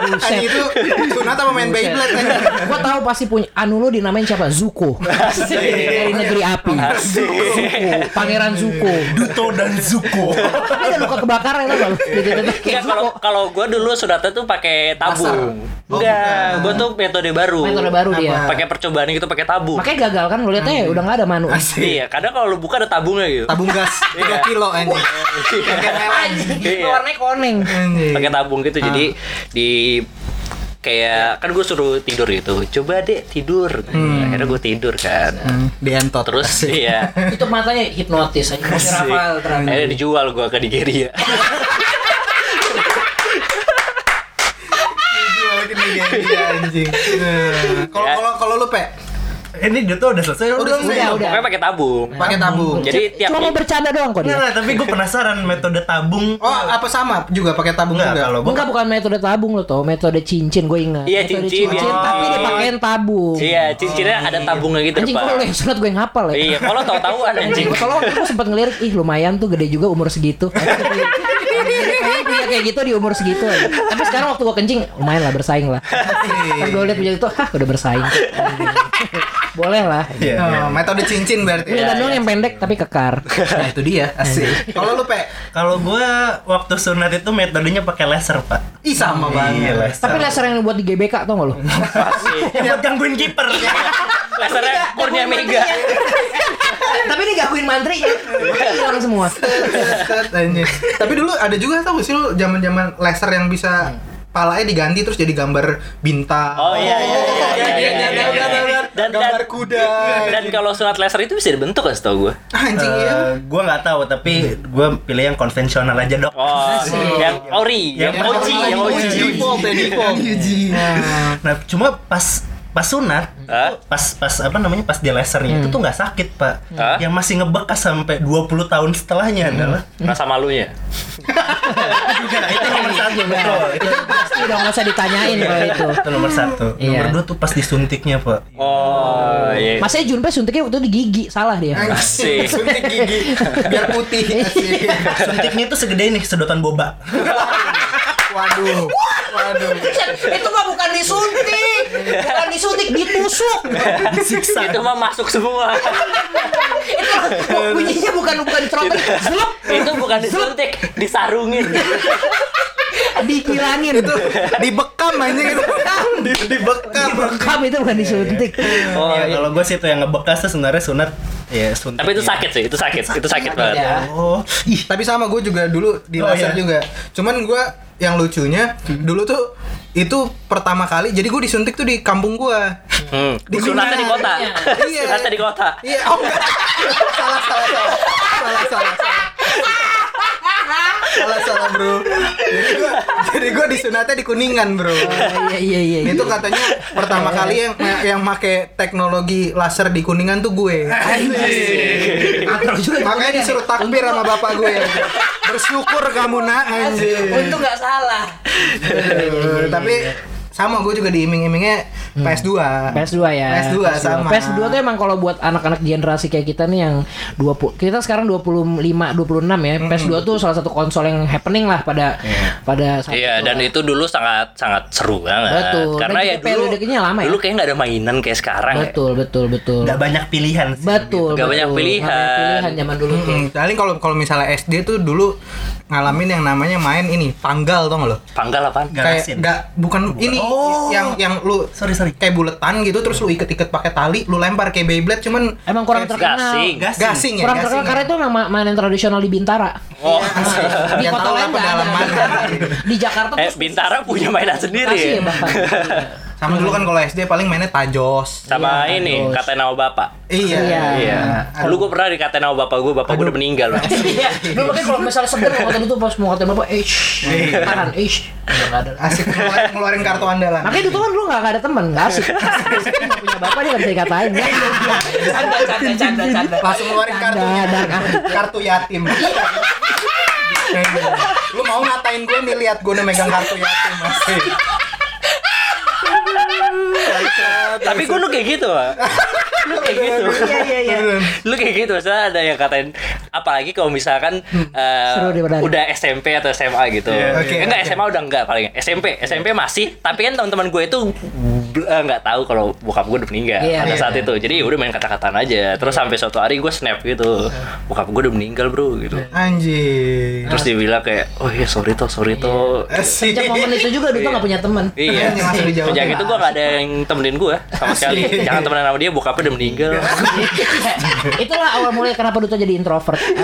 D: Anjing itu sunat apa main Beyblade kan?
E: Gua tahu pasti punya anu lu dinamain siapa Zuko dari negeri api Zuko pangeran Zuko
F: Duto dan Zuko.
E: ada
F: Iya,
E: luka kebakaran itu lu
C: Enggak, Iya, kalau kalau gue dulu sunatnya tuh pakai tabung. Enggak, gue tuh metode baru.
E: metode baru dia
C: Pakai percobaan gitu pakai tabung.
E: makanya gagal kan lu lihatnya udah nggak ada manu
C: Iya, kadang kalau lu buka ada tabungnya gitu.
D: Tabung gas 3 kilo Iya. anjing. Pakai melon.
C: Iya.
E: warnanya koneng
D: Anjing.
C: pakai tabung gitu jadi di kayak kan gue suruh tidur gitu coba deh tidur akhirnya gue tidur kan
D: Ah. Dientot.
C: terus iya
E: itu matanya hipnotis aja Masih Rafael terang
C: akhirnya dijual gue ke Nigeria
D: Balikin lagi anjing, anjing. Nah, Kalau kalau kalau lu pe
F: Ini Duto udah selesai
D: Udah,
F: udah.
E: udah udah
C: pokoknya pakai tabung
D: pakai tabung.
C: jadi tiap Iya.
E: cuma mau bercanda doang kok
F: Nggak
E: dia
F: lah, tapi gue penasaran metode tabung.
D: Oh, apa sama juga pakai tabung
F: Enggak,
D: juga?
F: kalau gue
E: Enggak bukan metode tabung lo tau, metode cincin gue ingat.
C: Iya,
E: Metode
C: cincin, iya.
E: tapi dipakein tabung.
C: iya cincinnya ada tabungnya gitu
E: Anjing
C: Pak.
E: kalau lo yang sunat gue yang hafal ya.
C: iya kalau tahu-tahuan anjing
E: Anjing, kalau waktu itu sempat ngelirik, ih lumayan tuh gede juga umur segitu. Pengen punya kayak gitu di umur segitu aja. Tapi sekarang waktu gua kencing, lumayan lah bersaing lah. Pas gua lihat punya itu, hah udah bersaing. Boleh lah.
F: Iya, iya.
D: Oh, metode cincin berarti.
C: Iya,
E: Punya dandong yang pendek tapi kekar.
D: Nah, itu dia. Asik. Kalau lu pe
F: Kalau gue waktu sunat itu metodenya pakai laser, Pak.
D: Ih sama
F: Iya,
D: banget.
F: laser.
E: Tapi laser yang buat di GBK tau gak lo?
F: buat gangguin kiper.
C: lasernya kurnia mega
E: tapi ini gangguin mantri ya. Hilang semua.
D: Set, anjing. Tapi dulu ada juga tau gak sih lu zaman-zaman laser yang bisa palanya diganti terus jadi gambar bintang.
C: oh iya iya iya, iya, iya, iya, iya, iya.
D: Dan
C: dan dan
D: gambar kuda.
C: dan kalau sunat laser itu bisa dibentuk kan setahu gue
D: Anjing ya.
F: gue Eh, nggak tahu, tapi gue pilih yang konvensional aja dok.
C: oh yang ori yang
F: Yang
C: oji
F: ori.
C: yang
D: Uji,
C: oji
D: default ya default. Nah,
F: Nah, cuma pas pas sunat,
C: Hah?
F: itu pas pas apa namanya pas di lasernya itu tuh nggak sakit pak.
C: Hah?
F: Yang masih ngebekas sampai 20 tahun setelahnya adalah
C: rasa malunya
F: Nah, itu nomor satu betul. Itu,
E: Pasti udah nggak usah ditanyain kalau itu.
F: itu nomor satu.
E: Iya.
F: Nomor dua tuh pas disuntiknya pak.
C: Oh, iya.
E: Masanya Junpei suntiknya waktu itu di gigi, salah dia.
C: Asik.
D: Suntik gigi biar putih. Asik.
F: Suntiknya itu segede nih sedotan boba.
D: Waduh. Waduh.
E: itu mah bukan disuntik bukan disuntik ditusuk
C: Itu mah masuk semua.
E: itu bunyinya bukan bukan cerotek
D: Gitu.
E: zlup
C: itu bukan disuntik, disarungin.
E: dikilangin
D: Itu dibekam anjing itu. Dibekam.
E: kamu itu
D: Iya,
E: bukan disuntik
C: Oh,
F: ya,
C: iya.
F: kalau gue sih itu yang ngebekas tuh sebenarnya sunat ya suntik.
C: Tapi itu sakit sih, itu sakit. Itu sakit banget.
E: ya
F: Oh, ih.
D: Tapi sama gue juga dulu di
F: Oh,
D: laser
F: iya. Hmm.
D: juga. Cuman gue yang lucunya dulu tuh itu pertama kali jadi gue disuntik tuh di kampung gue.
C: Hmm. Sunatnya di kota.
D: Iya.
C: Sunatnya di kota.
D: Iya, oh enggak. salah, salah, salah, salah, salah, salah, salah, salah, bro. Jadi gue Jadi gue disunatnya di Kuningan,
F: Oh,
D: Bro.
E: iya iya iya.
D: Itu katanya pertama kali yang yang make teknologi laser di Kuningan tuh gue.
E: Atur juga.
D: Makanya disuruh takbir sama bapak gue. Bersyukur kamu nak anjing.
G: Untung nggak salah.
D: Aduh, Tapi sama gue juga diiming-imingnya PS2.
E: PS2 ya.
D: PS2 sama.
E: PS2 tuh ya. emang kalau buat anak-anak generasi kayak kita nih yang 20 kita sekarang 25 26 ya. PS2 tuh salah satu konsol yang happening lah pada pada saat
C: Iya, dan itu dulu sangat sangat seru banget.
E: Betul.
C: Karena
E: Dan
C: ya
E: juga
C: dulu
E: periodenya lama ya.
C: Dulu kayaknya nggak ada mainan kayak sekarang. ya.
E: betul betul betul.
F: Gak banyak pilihan sih.
E: Betul.
C: Nggak banyak
E: betul.
C: pilihan.
E: Nggak banyak pilihan zaman dulu tuh.
D: Hmm, paling kalau kalau misalnya SD tuh dulu ngalamin yang namanya main ini panggal tau nggak lo?
C: Panggal apaan?
E: Iya.
D: Kayak
F: Galasin.
D: nggak bukan, ini
F: Oh.
D: yang yang lu
F: Sorry, sorry.
D: kayak buletan gitu terus lu iket-iket pakai tali lu lempar kayak Beyblade cuman
E: Emang kurang
D: kayak
E: terkenal.
C: Gasing.
F: Gasing.
D: gasing ya
E: Kurang
D: gasing
E: terkenal
D: ya.
E: karena itu memang ma- mainan tradisional di Bintara.
C: Oh,
E: Di
D: Yang
E: kota
D: tahu
E: lain
D: lah
E: nggak ada.
D: pedalaman.
E: Di Jakarta
C: eh
E: tuh
C: Bintara punya mainan sendiri.
E: Bekasi ya
C: ya?
E: bahkan.
D: sama dulu kan kalau SD paling mainnya tajos
C: Sama
E: Iya,
C: ini
E: terus.
C: kata nama bapak.
D: iya
E: Iya.
C: Iya. Dulu gue pernah dikatain sama bapak gue, bapak gue udah meninggal. Bang.
E: Iya, dulu makanya kalau misalnya sebel kalau tadi tuh pas mau ngatain bapak, eh, shh, tahan, eh, shh." udah nggak ada.
D: asik ngeluarin, ngeluarin kartu andalan
E: Makanya dulu kan lu gak, ada temen, gak asik Asik kan nggak punya bapak dia gak bisa dikatain ya.
G: Canda, canda, canda, canda.
D: langsung ngeluarin kartu ya.
E: Ada,
D: kartu yatim lu mau ngatain gue nih lihat gue udah megang kartu yatim masih
C: Tapi gue lu kayak gitu, Pak. Lu kayak
E: Iya,
C: gitu. Lu kayak gitu, maksudnya ada yang katain apalagi kalau misalkan eh,
E: Hmm. Seru deh, benar.
C: udah SMP atau SMA gitu.
F: Iya,
D: iya.
C: enggak
D: Oke,
C: SMA udah enggak paling. SMP, SMP masih, tapi kan teman-teman gue itu bl- eh, enggak tahu kalau bokap gue udah meninggal
E: Iya.
C: pada saat itu. Jadi ya udah main kata-kataan aja. Terus sampai suatu hari gue snap gitu.
D: Iya.
C: Bokap gue udah meninggal, Bro, gitu.
D: anjing
C: Terus dibilang kayak, "Oh iya, sorry toh, sorry toh."
D: asik
E: Sejak momen itu juga Duto gak punya temen
C: Iya,
D: Ini masih dijawab.
C: sejak itu gue gak ada yang temenin gue sama sekali. Jangan temenan sama dia, bokapnya udah meninggal.
D: Iya.
E: Itulah awal mulai kenapa Duto jadi introvert
D: Asik.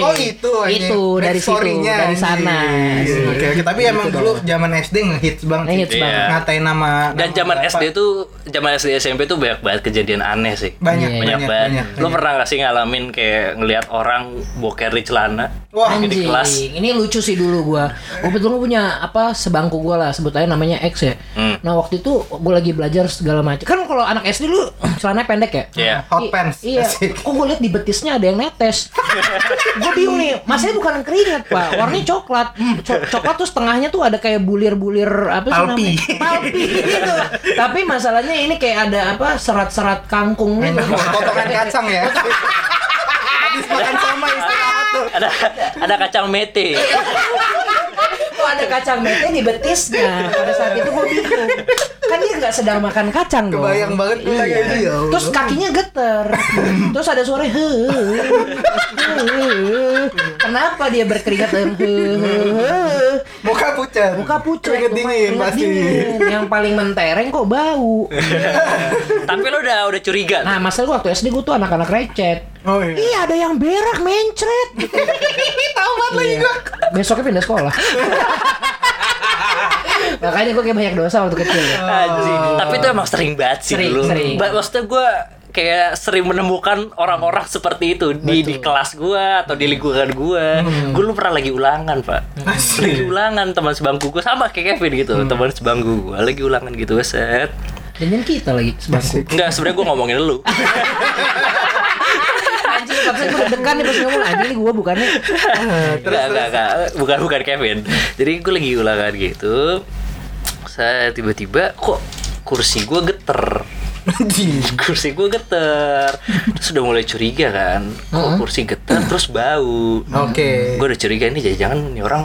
D: Oh itu anjing.
E: Iya. Itu dari situ,
D: Backstory-nya,
E: dari
D: anjing.
E: sana Gitu
D: Iya, Oke oke tapi emang dulu zaman SD ngehits banget. sih. Iya.
E: Ngehits
C: banget.
D: Ngatain nama
C: Dan
D: nama
C: zaman
D: bapak.
C: SD tuh, zaman SD SMP tuh banyak banget kejadian aneh sih.
D: banyak
E: Iya,
C: Banyak,
D: banyak
C: banget.
D: banyak.
C: Lo pernah gak sih ngalamin kayak ngelihat orang boker di celana?
D: Wah,
C: Di
E: Anjing,
C: kelas.
E: ini lucu sih dulu gua. Gua betul gua punya apa sebangku gua lah sebut aja namanya X ya.
C: Hmm.
E: Nah, waktu itu gua lagi belajar segala macam. Kan kalau anak SD lu celananya pendek ya?
C: Iya.
D: hot
E: I-
D: pants.
E: Iya.
D: Asik.
E: Kok gue liat di betisnya ada yang netes. gue bingung nih. Masanya bukan keringet pak. Warnanya coklat. Co- coklat tuh setengahnya tuh ada kayak bulir-bulir apa sih
F: Palpi.
E: namanya? Palpi gitu. Tapi masalahnya ini kayak ada apa serat-serat kangkung gitu.
D: Potongan kacang ya. Habis makan sama istirahat tuh.
C: Ada ada kacang mete.
E: Kok ada kacang mete di betisnya? Pada saat itu gue bingung. Kan dia nggak sedang makan kacang dong.
D: Kebayang banget gue kayak gitu ya. Allah.
E: Oh, iya. Terus kakinya geter. Terus ada suara he. Kenapa dia berkeringat dan he.
D: muka pucat.
E: Muka pucat.
D: Keringet dingin
E: keringat
D: pasti.
E: dingin. Yang paling mentereng kok bau.
C: Tapi lo udah udah curiga.
E: Nah, masalah gua waktu SD gue tuh anak-anak recet.
D: Oh iya.
E: Iya, ada yang berak mencret. Tahu banget lagi gua. Besoknya pindah sekolah. Makanya gue kayak banyak dosa waktu kecil. ya.
C: Anjing. Tapi itu emang sering banget sih
E: Sering,
C: dulu.
E: sering.
C: Ba- Maksudnya gue kayak sering menemukan orang-orang seperti itu di di kelas gue atau di lingkungan gue.
E: Hmm.
C: Gue lu pernah lagi ulangan pak. Lagi ulangan teman sebangku gue sama kayak Kevin gitu.
E: Hmm.
C: Teman sebangku gue lagi ulangan gitu set.
E: Jangan kita lagi sebangku.
C: Enggak sebenarnya gue ngomongin lu.
E: Anjing, tapi gue deg-degan nih pas ngomong anjing ini gue bukannya.
C: Enggak enggak enggak. Bukan bukan Kevin. Jadi gue lagi ulangan gitu. Saya tiba-tiba kok kursi gue geter. kursi gue geter terus udah mulai curiga kan kok kursi geter terus bau
D: Oke.
C: gue udah curiga ini jangan-jangan nih orang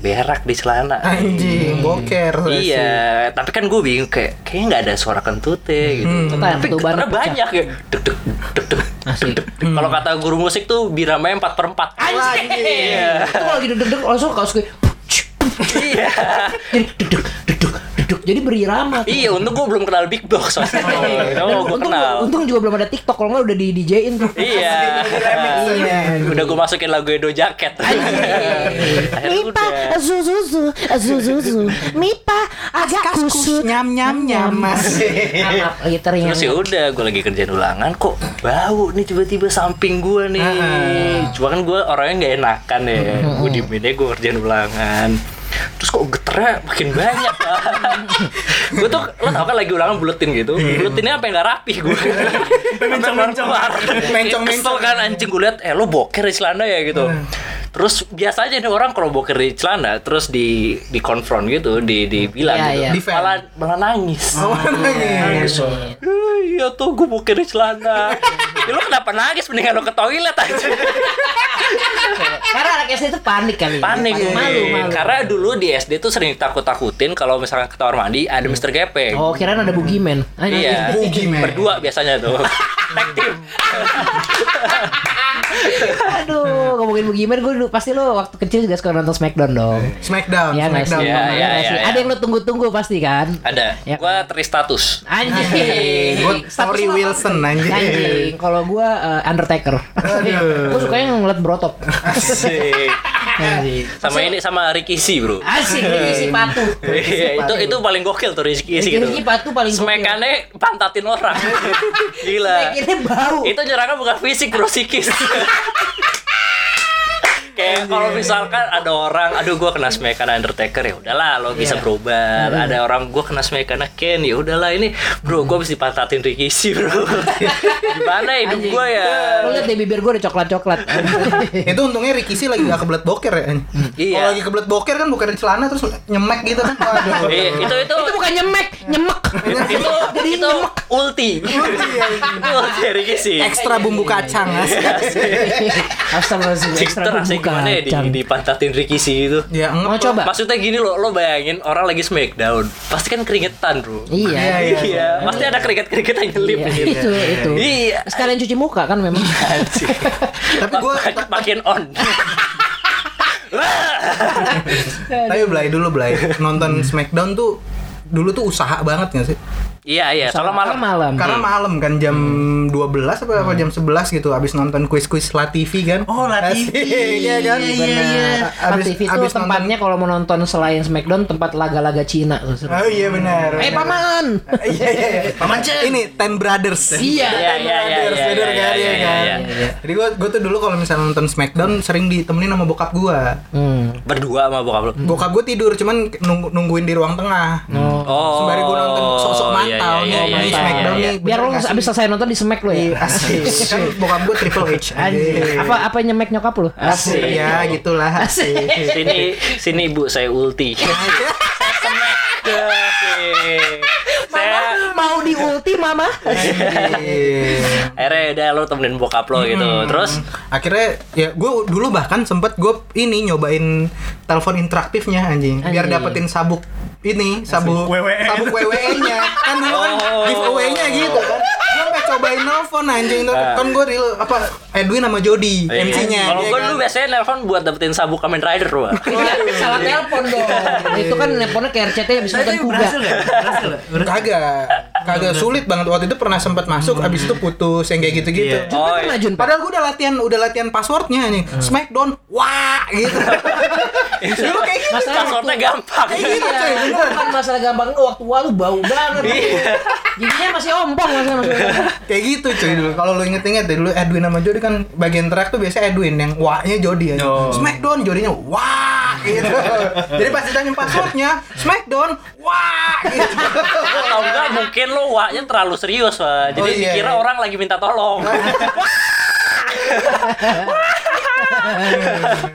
C: berak di celana
E: Ah, iya,
D: Anjing, boker.
C: iya tapi kan gue bingung kayak kayaknya nggak ada suara kentutnya gitu
E: Cetan,
C: tapi
E: Hmm. tuh,
C: geternya
E: bahan pecah.
C: banyak ya deg deg deg deg
E: Asli.
C: kalau kata guru musik tuh biramanya empat per empat
E: Anjing. Itu kalau lagi deg-deg langsung kaos gue.
C: iya
E: Jadi deg-deg, deg-deg, deg-deg. Jadi berirama. tuh.
C: iya untung gue belum kenal big box soalnya
E: Dan iya.
C: oh, gue
E: untung,
C: kenal
E: untung juga belum ada TikTok kalau nggak udah di DJ-in tuh.
C: Iya. Udah gue masukin lagu Edo Jacket. Akhirnya
H: Mipa
C: udah.
H: Zuzuzu Zuzuzu Mipa agak kusut
D: Nyam nyam nyam masih.
E: Ngap-ngap, lagi teringat.
C: Terus ya udah, gue lagi kerjaan ulangan kok bau nih tiba-tiba samping gue nih. Cuma kan gue orangnya nggak enakan ya. Gue diemin aja gue kerjaan ulangan. terus kok geternya makin banyak Pak. gue tuh lo tau kan lagi ulangan buletin gitu buletinnya sampai nggak rapi gue
F: Mencong-mencong.
C: mencong kan anjing gue liat eh lo boker di celana ya gitu terus biasa aja nih orang kalau boker di celana terus di di konfront gitu di dibilang
E: Iya,
C: gitu
E: iya.
D: Defend.
C: malah malah nangis
D: Oh, nangis.
C: Nangis, "Eh, iya tuh gue boker di celana ya, lo kenapa nangis mendingan lo ke toilet aja
E: Karena anak SD itu panik kali. ya.
C: panik iya.
E: Malu, malu.
C: karena dulu di SD tuh sering takut-takutin kalau misalnya ke kamar mandi ada Mr. Gepeng
E: Oh, kirain ada Ah, bugiman.
C: iya
D: Bugi, men.
C: berdua biasanya tuh tag team
E: Aduh, ngomongin bugiman gue dulu pasti lo waktu kecil juga suka nonton Smackdown dong.
D: Smackdown,
E: Iya nggak sih?
D: Smackdown.
C: Iya, iya,
E: Nggak sih?
C: iya.
E: Ada yang lo tunggu-tunggu pasti kan?
C: ada
E: Ya.
C: gua tristatus
E: Anjing.
D: Gua Tori
E: Status lo apa?
D: Wilson, anjing.
E: Anjing. Kalau gue Undertaker. gue sukanya ngeliat brotok. Anjing.
C: sama ini sama Rikishi bro
E: Asik ini si patu.
C: Iya, itu itu paling gokil tuh Rikishi
E: Ricky-
C: gitu
E: Ricky Patu paling gokil.
C: Smekannya pantatin orang gila
E: Ini bau.
C: itu nyerangnya bukan fisik bro psikis kayak kalau misalkan ada orang aduh gua kena smekan undertaker ya udahlah
E: Iya.
C: lo bisa berubah
E: Hmm.
C: ada orang gua kena smekan ken ya udahlah ini bro gua mesti patatin rikishi bro gimana hidup
E: Anjing.
C: gua ya
E: Lo liat deh bibir gue udah coklat-coklat.
D: Itu untungnya Ricky sih lagi gak kebelet boker ya. anjing.
C: Iya.
D: Kalau lagi kebelet boker kan bukan di celana terus nyemek gitu kan. Waduh.
C: Eh, itu itu
E: Iya. itu bukan nyemek, nyemek.
C: itu itu ulti itu ulti rikishi
D: Ekstra bumbu kacang. asik.
E: Astagfirullahaladzim,
C: Sister
E: ekstra
C: asik gimana ya di,
E: kacang.
C: dipantatin rikishi itu
D: Ya, ngep
E: Mau
D: lah.
E: coba?
C: Maksudnya gini loh, lo bayangin orang lagi smackdown, pasti kan keringetan bro.
E: Iya.
D: Iya,
C: Iya, pasti ada keringet-keringet yang nyelip
E: Iya,
C: gitu.
E: itu itu.
C: Iya.
E: Sekalian cuci muka kan memang.
C: Anjing.
D: Tapi gua-
C: Mak- makin on.
D: Tapi belai dulu belai. Nonton
E: Hmm.
D: Smackdown tuh dulu tuh usaha banget gak sih?
C: Iya iya, soalnya malam.
E: malam.
D: Karena malam kan jam
E: Hmm.
D: 12 apa, apa jam 11 gitu abis nonton kuis-kuis La TV kan.
B: Oh, La TV.
D: Asik, Iya kan?
B: Iya, iya, iya.
D: A-
E: Abis, TV itu
D: nonton-
E: tempatnya kalau mau nonton selain Smackdown tempat laga-laga Cina. tuh, seru.
D: Oh iya benar.
E: Eh
D: benar.
E: paman.
D: Iya iya iya. Paman Ini Ten Brothers.
E: Iya.
C: Iya iya iya.
D: Brothers, bener
C: iya, iya,
D: kan,
C: iya,
D: iya
C: iya,
D: kan?
C: iya.
D: Jadi gua gua tuh dulu kalau misalnya nonton Smackdown sering ditemenin sama bokap gua.
E: Hmm.
C: Berdua sama bokap lo.
D: Bokap gua tidur cuman nunggu- nungguin di ruang tengah.
C: Oh.
D: Sembari gua nonton sosok mantau
C: iya, iya,
D: nih,
C: iya,
D: nih
C: iya,
D: Smackdown
C: iya.
D: nih.
E: Biar lo
D: bener nggak
E: abis
D: sih?
E: selesai nonton di smack lo ya.
D: Asik. Kan bokap gua Triple H.
E: Anjing. Apa apa nyemek nyokap lo?
C: Asik.
D: Ya gitulah. Asik.
C: Iya, Sini sini Bu, saya ulti.
D: Iya,
C: Saya semek. Asik. Saya
E: Mau diulti mama?
D: Asik.
C: akhirnya ya udah lo temenin bokap lo gitu.
D: Hmm.
C: Terus
D: akhirnya ya gue dulu bahkan sempet gue ini nyobain telepon interaktifnya anjing biar
E: Anjing.
D: dapetin sabuk ini sabuk
F: WWN.
D: sabuk WWN nya kan dulu kan
C: Oh.
D: giveaway nya gitu kan gue sampai cobain nelfon anjing kan gue real apa Edwin sama Jody
C: Iya.
D: Iya MC nya
C: Kalau gue dulu biasanya nelpon buat dapetin sabuk Kamen Rider gua.
E: Iya. Salah telepon dong. itu kan nelponnya ke RCT abis nonton kuda.
G: Berhasil nggak? Berhasil nggak? Berhasil.
D: kagak kagak sulit banget waktu itu pernah sempat masuk abis itu putus yang kayak gitu gitu
F: Iya.
E: Kan
C: Oh,
E: pernah Jun Pak?
D: Padahal gue udah latihan, udah latihan passwordnya anjing Smackdown, wah gitu. Dulu kayak gitu.
C: passwordnya gampang.
D: Iya, coy, bener.
E: Kan masalah gampang lu waktu tua lu bau banget. Giginya masih ompong masalah masalah.
D: Kayak gitu cuy dulu. Kalau lu inget-inget deh, dulu Edwin sama Jody kan bagian track tuh biasa Edwin yang wah-nya Jody aja.
F: Oh.
D: Smackdown Jodynya wah gitu. Jadi pas ditanya passwordnya Smackdown wah gitu.
C: Atau enggak mungkin lo waknya terlalu serius Wak.
D: Iya.
C: Jadi
D: Oh, iya,
C: dikira
D: iya.
C: orang lagi minta tolong.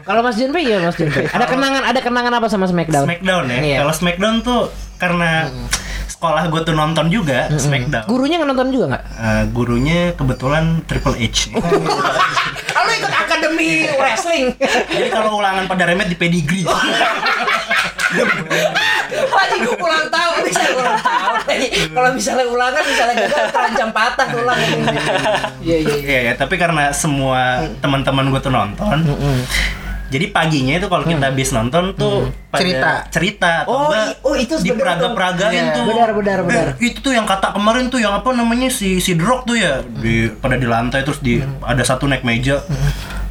E: Kalau Mas Junpei ya Mas Junpei. Ada kenangan ada kenangan apa sama Smackdown?
F: Smackdown ya.
E: Iya.
F: Kalau Smackdown tuh karena sekolah gue tuh nonton juga Smackdown.
E: Gurunya nonton juga nggak?
F: Eh, gurunya kebetulan Triple H.
E: Oh. Kalau ikut akademi wrestling.
F: Jadi kalau ulangan pada remet di pedigree.
E: Oh. Lagi gue ulang tahun bisa ulang tahun. lagi. Kalau misalnya ulangan misalnya juga terancam patah tulang. Iya iya. iya.
F: Iya ya, tapi karena semua
E: Hmm.
F: teman-teman gue tuh nonton. Jadi paginya itu kalau kita habis nonton tuh pada
D: Cerita.
F: cerita
E: Hmm. Oh,
F: atau enggak
E: i- oh, itu sebenarnya Iya.
F: diperagam-peragain
D: tuh.
F: tuh.
E: Benar, benar, benar.
F: Eh, itu tuh yang kata kemarin tuh yang apa namanya si si Drog tuh ya
E: Hmm.
F: di pada di lantai terus di ada satu naik meja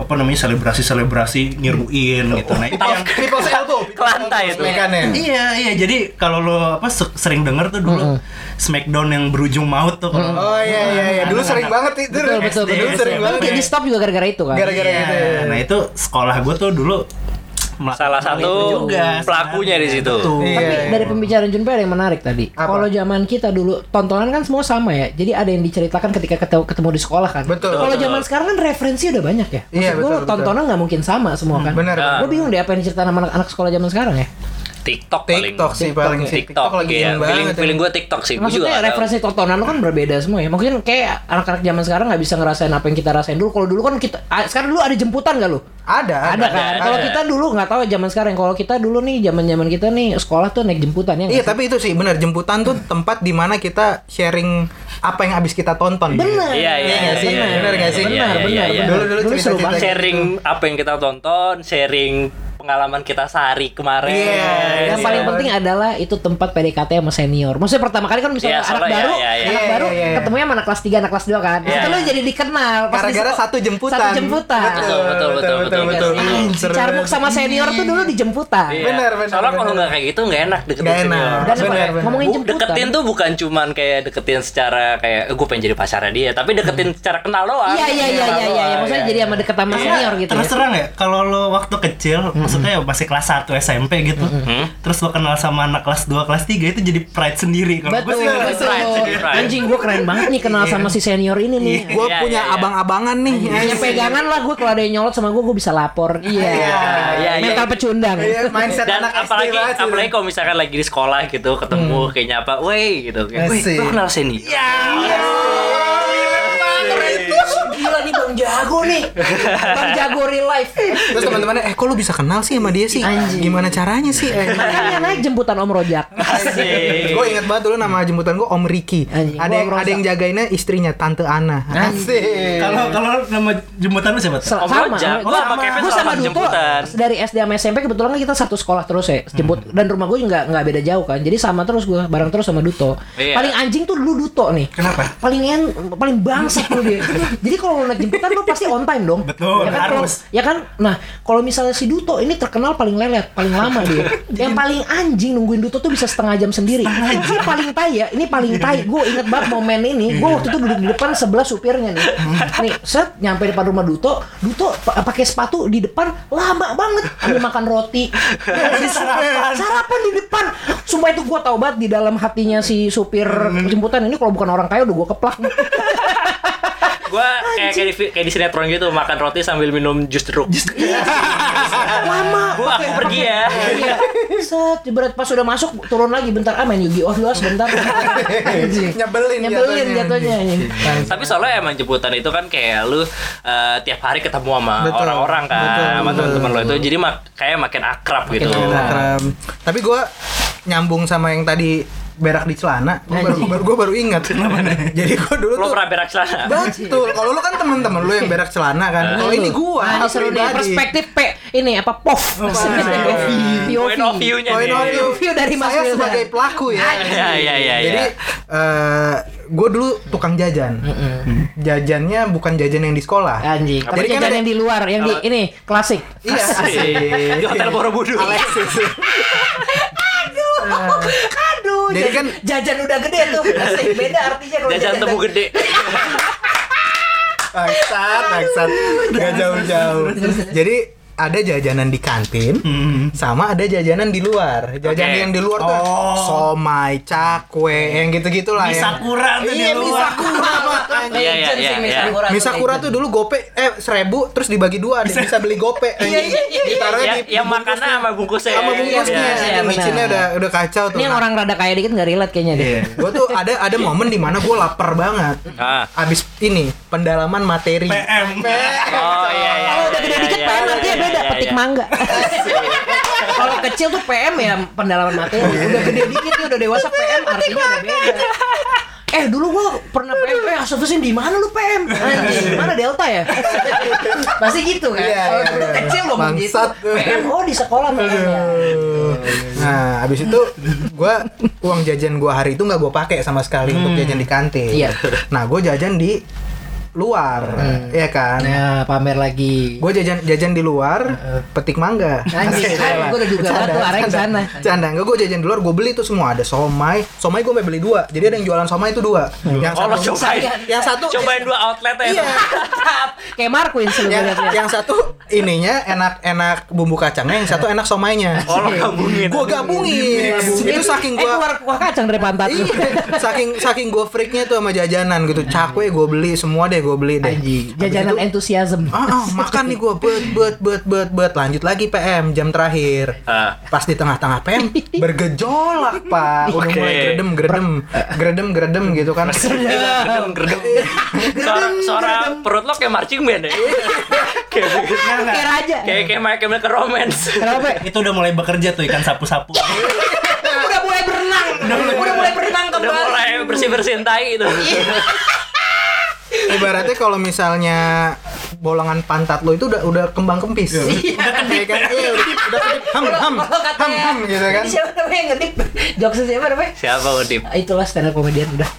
F: apa namanya selebrasi-selebrasi nyeruin gitu. Nah, itu yang
D: People's elbow.
C: Ke lantai itu.
D: Smackdown-nya.
F: Iya iya jadi kalau lo apa se- sering denger tuh dulu Smackdown yang berujung maut tuh kalau
D: Oh iya iya iya, dulu sering banget itu.
E: Betul betul
F: SD,
E: betul.
D: Dulu sering
E: Kan
D: banget. ya. iya,
E: kayak di stop juga gara-gara itu kan.
D: Gara-gara
F: Iya,
D: gitu. ya.
F: Nah itu sekolah gue tuh dulu melakukan
C: Salah
F: hal itu
C: satu
F: juga
C: pelakunya di situ.
F: Betul.
D: Iya,
E: Tapi
D: iya.
E: dari pembicaraan Junpei ada yang menarik tadi.
D: Apa?
E: Kalau zaman kita dulu tontonan kan semua sama ya. Jadi ada yang diceritakan ketika ketemu, ketemu di sekolah kan.
D: Betul.
E: Kalau zaman sekarang kan referensi udah banyak ya. Maksud
D: Iya,
E: gua
D: betul, betul.
E: tontonan nggak mungkin sama semua kan.
D: Bener.
C: Nah.
E: Gue bingung deh apa yang diceritain sama anak-anak sekolah zaman sekarang ya.
C: TikTok paling.
D: TikTok sih paling sih.
C: TikTok
D: lagi
C: iya.
D: in
C: Feeling,
D: banget.
C: feeling gue TikTok sih. Gue juga
E: Maksudnya
C: nggak tahu.
E: referensi tontonan lo kan berbeda semua ya. Mungkin kayak anak-anak zaman sekarang nggak bisa ngerasain apa yang kita rasain dulu. Kalau dulu kan kita ah, sekarang dulu ada jemputan gak lo?
D: Ada,
E: Ada kan. Kalau kita dulu nggak tahu zaman sekarang. Kalau kita dulu nih zaman-zaman kita nih sekolah tuh naik jemputan ya. nggak
D: Iya
E: sih?
D: tapi itu sih benar jemputan tuh tempat di mana kita sharing apa yang habis kita tonton.
E: Bener.
C: Iya, iya,
D: nggak
C: iya,
D: sih?
C: iya,
D: Bener nggak
C: iya,
D: sih?
C: iya, iya,
E: Benar,
C: iya.
E: benar.
D: Dulu dulu
E: Dulu
D: cerita
E: seru banget.
D: cerita
C: sharing apa yang kita tonton, sharing pengalaman kita sehari kemarin.
D: Iya,
E: Yang
D: Iya.
E: paling penting adalah itu tempat PDKT sama senior. Maksudnya pertama kali kan misalnya
C: Iya,
E: anak
C: soalnya,
E: baru,
C: iya, iya,
E: anak
D: iya.
E: baru
D: Iya, iya.
E: ketemunya sama anak kelas 3, anak kelas 2 kan. Terus
C: Iya.
E: lo jadi dikenal pas di
D: Gara-gara
E: sekolah.
D: satu jemputan.
E: Satu jemputan.
C: Betul, betul, betul, betul,
E: betul. Si
D: Seru
E: Carmuk
D: banget.
E: Ah, sama senior tuh dulu dijemputan.
C: Iya.
D: Benar, benar,
C: Soalnya kalau
D: benar.
C: nggak kayak gitu nggak enak deketin
D: Nggak
C: senior.
D: enak.
E: Dan
D: Bener, bener.
E: ngomongin
C: Bu,
E: jemputan.
C: Oh, deketin tuh bukan cuman kayak deketin secara kayak eh, gue pengen jadi pacarnya dia, tapi deketin secara kenal doang.
E: Iya iya iya iya iya, maksudnya jadi sama deket sama senior gitu.
F: Terus
E: ya.
F: terang ya, kalau lo waktu kecil, maksudnya ya masih kelas 1 SMP gitu, terus lo kenal sama anak kelas 2, kelas 3 itu jadi pride sendiri. Kalau gue
E: Betul,
F: sih ngerasa
E: betul.
F: pride sendiri.
C: Pride.
E: Anjing gue keren banget nih kenal sama si senior ini nih.
D: Gue
C: Iya,
D: punya
C: iya, iya.
D: abang-abangan nih.
E: Punya pegangan lah gue kalau ada yang nyolot sama gue gue bisa lapor. Iya.
C: iya, iya.
E: Mental pecundang. Ah,
D: Iya, mindset
C: Dan
D: anak
C: apalagi
D: SD banget gitu. sih.
C: apalagi kalau misalkan lagi di sekolah gitu ketemu kayaknya apa, woi gitu kayak, woi
D: Asik.
C: lo kenal senior. Iya.
E: Gila nih Bang Jago nih. Bang Jago real life.
D: Terus teman-temannya, eh kok lu bisa kenal sih sama dia sih?
E: Anjing.
D: Gimana caranya sih? Eh,
E: Makanya naik jemputan Om Rojak.
C: Asik.
D: gue inget banget dulu nama jemputan gue Om Riki.
E: Anjing,
D: Ada
E: gua
D: yang
E: merasa.
D: ada yang jagainnya istrinya Tante Ana. Asik.
F: Kalau kalau nama jemputan lu siapa?
E: Sel-
C: Om Rojak.
E: Gue
C: Gua
E: sama,
C: sama Kevin
E: gua sama
C: sama
E: Duto
C: jemputan. Hmm.
E: dari SD sama SMP kebetulan kan kita satu sekolah terus ya jemput dan rumah gue nggak nggak beda jauh kan jadi sama terus gue bareng terus sama Duto
C: Iya.
E: paling anjing tuh dulu Duto nih
F: Kenapa?
E: paling en, paling bangsat tuh dia jadi kalau lo naik jemputan lo pasti on time dong
F: Betul,
E: ya kan, kalau-
F: harus.
E: ya kan nah kalau misalnya si Duto ini terkenal paling lelet paling lama dia yang paling anjing nungguin Duto tuh bisa setengah jam sendiri ini paling tai ya ini paling tai gue inget banget momen ini gue waktu itu duduk di depan sebelah supirnya nih nih set nyampe depan rumah Duto Duto pa- pakai sepatu di depan lama banget ambil makan roti sarapan sarapan di depan sumpah itu gue tau banget di dalam hatinya si supir jemputan ini kalau bukan orang kaya udah gue keplak nih.
C: Gue kayak kayak di, kayak di sinetron gitu makan roti sambil minum jus jeruk.
E: lama
C: Gue aku pergi ya.
E: Iya. Set, berat pas sudah masuk turun lagi bentar ah main Yu-Gi-Oh dulu ah, sebentar. Anjing.
D: Nyebelin
E: Nyebelin jatuhnya iya. anjing.
C: Tapi soalnya emang jemputan itu kan kayak lu eh, tiap hari ketemu sama
D: Betul.
C: orang-orang kan,
D: Betul,
C: sama
D: betul.
C: teman-teman lo itu. Jadi mak kayak makin akrab gitu.
D: Instagram. Tapi gue nyambung sama yang tadi berak di celana. Gue baru, baru, gua baru ingat. Jadi gue dulu
C: Lo
D: tuh
C: pernah berak celana?
D: Betul. Kalau lu kan teman-teman lu yang berak celana kan. Kalau ini gua
E: Nah, ini seru nih
D: pribadi.
E: perspektif P ini apa POV.
C: Point of view-nya
D: Point
C: nih.
D: of view.
E: View dari Mas
D: Saya
E: Wildan.
D: sebagai pelaku ya.
C: Iya, iya, iya,
D: Jadi
C: iya.
D: eh gue dulu tukang jajan. Jajannya bukan jajan yang di sekolah.
E: Anjing. Tapi
D: Jadi kan
E: jajan
D: ada-
E: yang di luar yang di ini klasik.
D: Iya.
C: Asik. Di Hotel Borobudur.
D: Alexis.
E: Aduh,
D: Jadi
E: jajan-
D: kan-
E: jajan udah gede tuh. Klasik beda artinya kalau
C: Jajan temu gede.
D: Maksat, maksat. Gak jauh-jauh. Jadi ada jajanan di kantin, sama ada jajanan di luar. Jajanan
C: Oke.
D: yang di luar tuh
F: Oh.
D: somai, cakwe, yang gitu-gitu lah.
F: Bisa kurang tuh di
D: Iya, bisa
F: luar.
D: kurang.
C: Iya, iya, iya, iya.
D: Misa kura tuh dulu gope eh seribu terus dibagi dua bisa, bisa beli gope iya, iya, iya, ditaruh
C: Ya,
D: di
C: yang makannya sama bungkusnya.
D: sama bungkusnya
C: Iya, iya.
E: iya,
D: Ini micinnya
E: benar.
D: udah udah kacau tuh
E: Ini yang orang rada kaya dikit nggak relate kayaknya deh.
D: gue tuh ada ada momen dimana gue lapar banget
C: Ah.
D: abis ini pendalaman materi
F: PM.
C: Oh iya iya.
E: Kalau udah
C: iya,
E: gede
C: iya,
E: dikit
C: iya,
E: PM artinya
C: iya,
E: beda
C: iya,
E: petik
C: iya.
E: mangga. Kalau kecil tuh PM ya pendalaman materi. Udah gede dikit nih udah dewasa PM artinya udah beda. Eh dulu gua pernah PM, eh asofesin di mana lu PM? Anjing, mana Delta ya? Pasti gitu kan.
D: Iya,
E: Kalau
D: iya,
E: dulu
D: iya.
E: kecil belum begitu.
D: Bangsat.
E: PM oh di sekolah PM.
D: Nah, abis itu gua uang jajan gua hari itu nggak gua pakai sama sekali untuk jajan di kantin.
E: Iya.
D: Nah, gua jajan di luar, ya kan?
E: Nah, pamer lagi.
D: Gue jajan jajan di luar, petik mangga.
E: Anjing, gue udah juga kan tuh arahnya ke sana.
D: Canda, enggak gue jajan di luar, gue beli tuh semua ada somai, somai gue beli dua, jadi ada yang jualan somai itu dua, yang
C: Oh, lo
D: satu,
C: cobain.
D: yang satu,
C: Cobain dua outlet ya.
D: iya,
E: Kayak Marquin
D: yang,
E: sebenarnya.
D: yang satu ininya enak-enak bumbu kacangnya, yang satu enak somainya.
C: Oh, lo gabungin.
D: Gue gabungin, itu saking
E: Eh,
D: gue
E: keluar kuah kacang dari pantat lu.
D: Iya, saking saking gue freaknya tuh sama jajanan gitu. Cakwe gue beli semua deh gue beli deh.
E: Anjing,
D: Habis
E: jajanan
D: itu,
E: entusiasm.
D: Ah, ah, makan nih gue bet bet bet bet bet lanjut lagi PM jam terakhir.
C: Ah.
D: Pas di tengah-tengah PM bergejolak pak. Udah
C: Oke.
D: mulai gredem gredem gredem gredem gitu kan.
C: Gerdem, gerdem. Iya,
E: Iya.
C: Suara, suara perut lo kayak marching band ya. kayak begitu.
E: Kayak raja.
C: Kayak kayak main kayak ke romance.
E: Kenapa?
F: Itu udah mulai bekerja tuh ikan sapu-sapu.
E: Udah mulai berenang.
C: Udah
G: mulai berenang
C: Udah
G: kembali.
C: mulai bersih-bersihin tai itu.
E: Iya.
D: Ibaratnya kalau misalnya bolongan pantat lo itu udah udah kembang kempis. Udah kedip, kan? Iya, udah kedip, udah kedip. Ham ham
G: Kalau katanya-
D: ham ham gitu kan.
E: Iya.
G: Siapa namanya yang ngedip? Jokesnya siapa namanya?
C: Siapa Udip?
E: Ah, Itulah stand up comedian udah.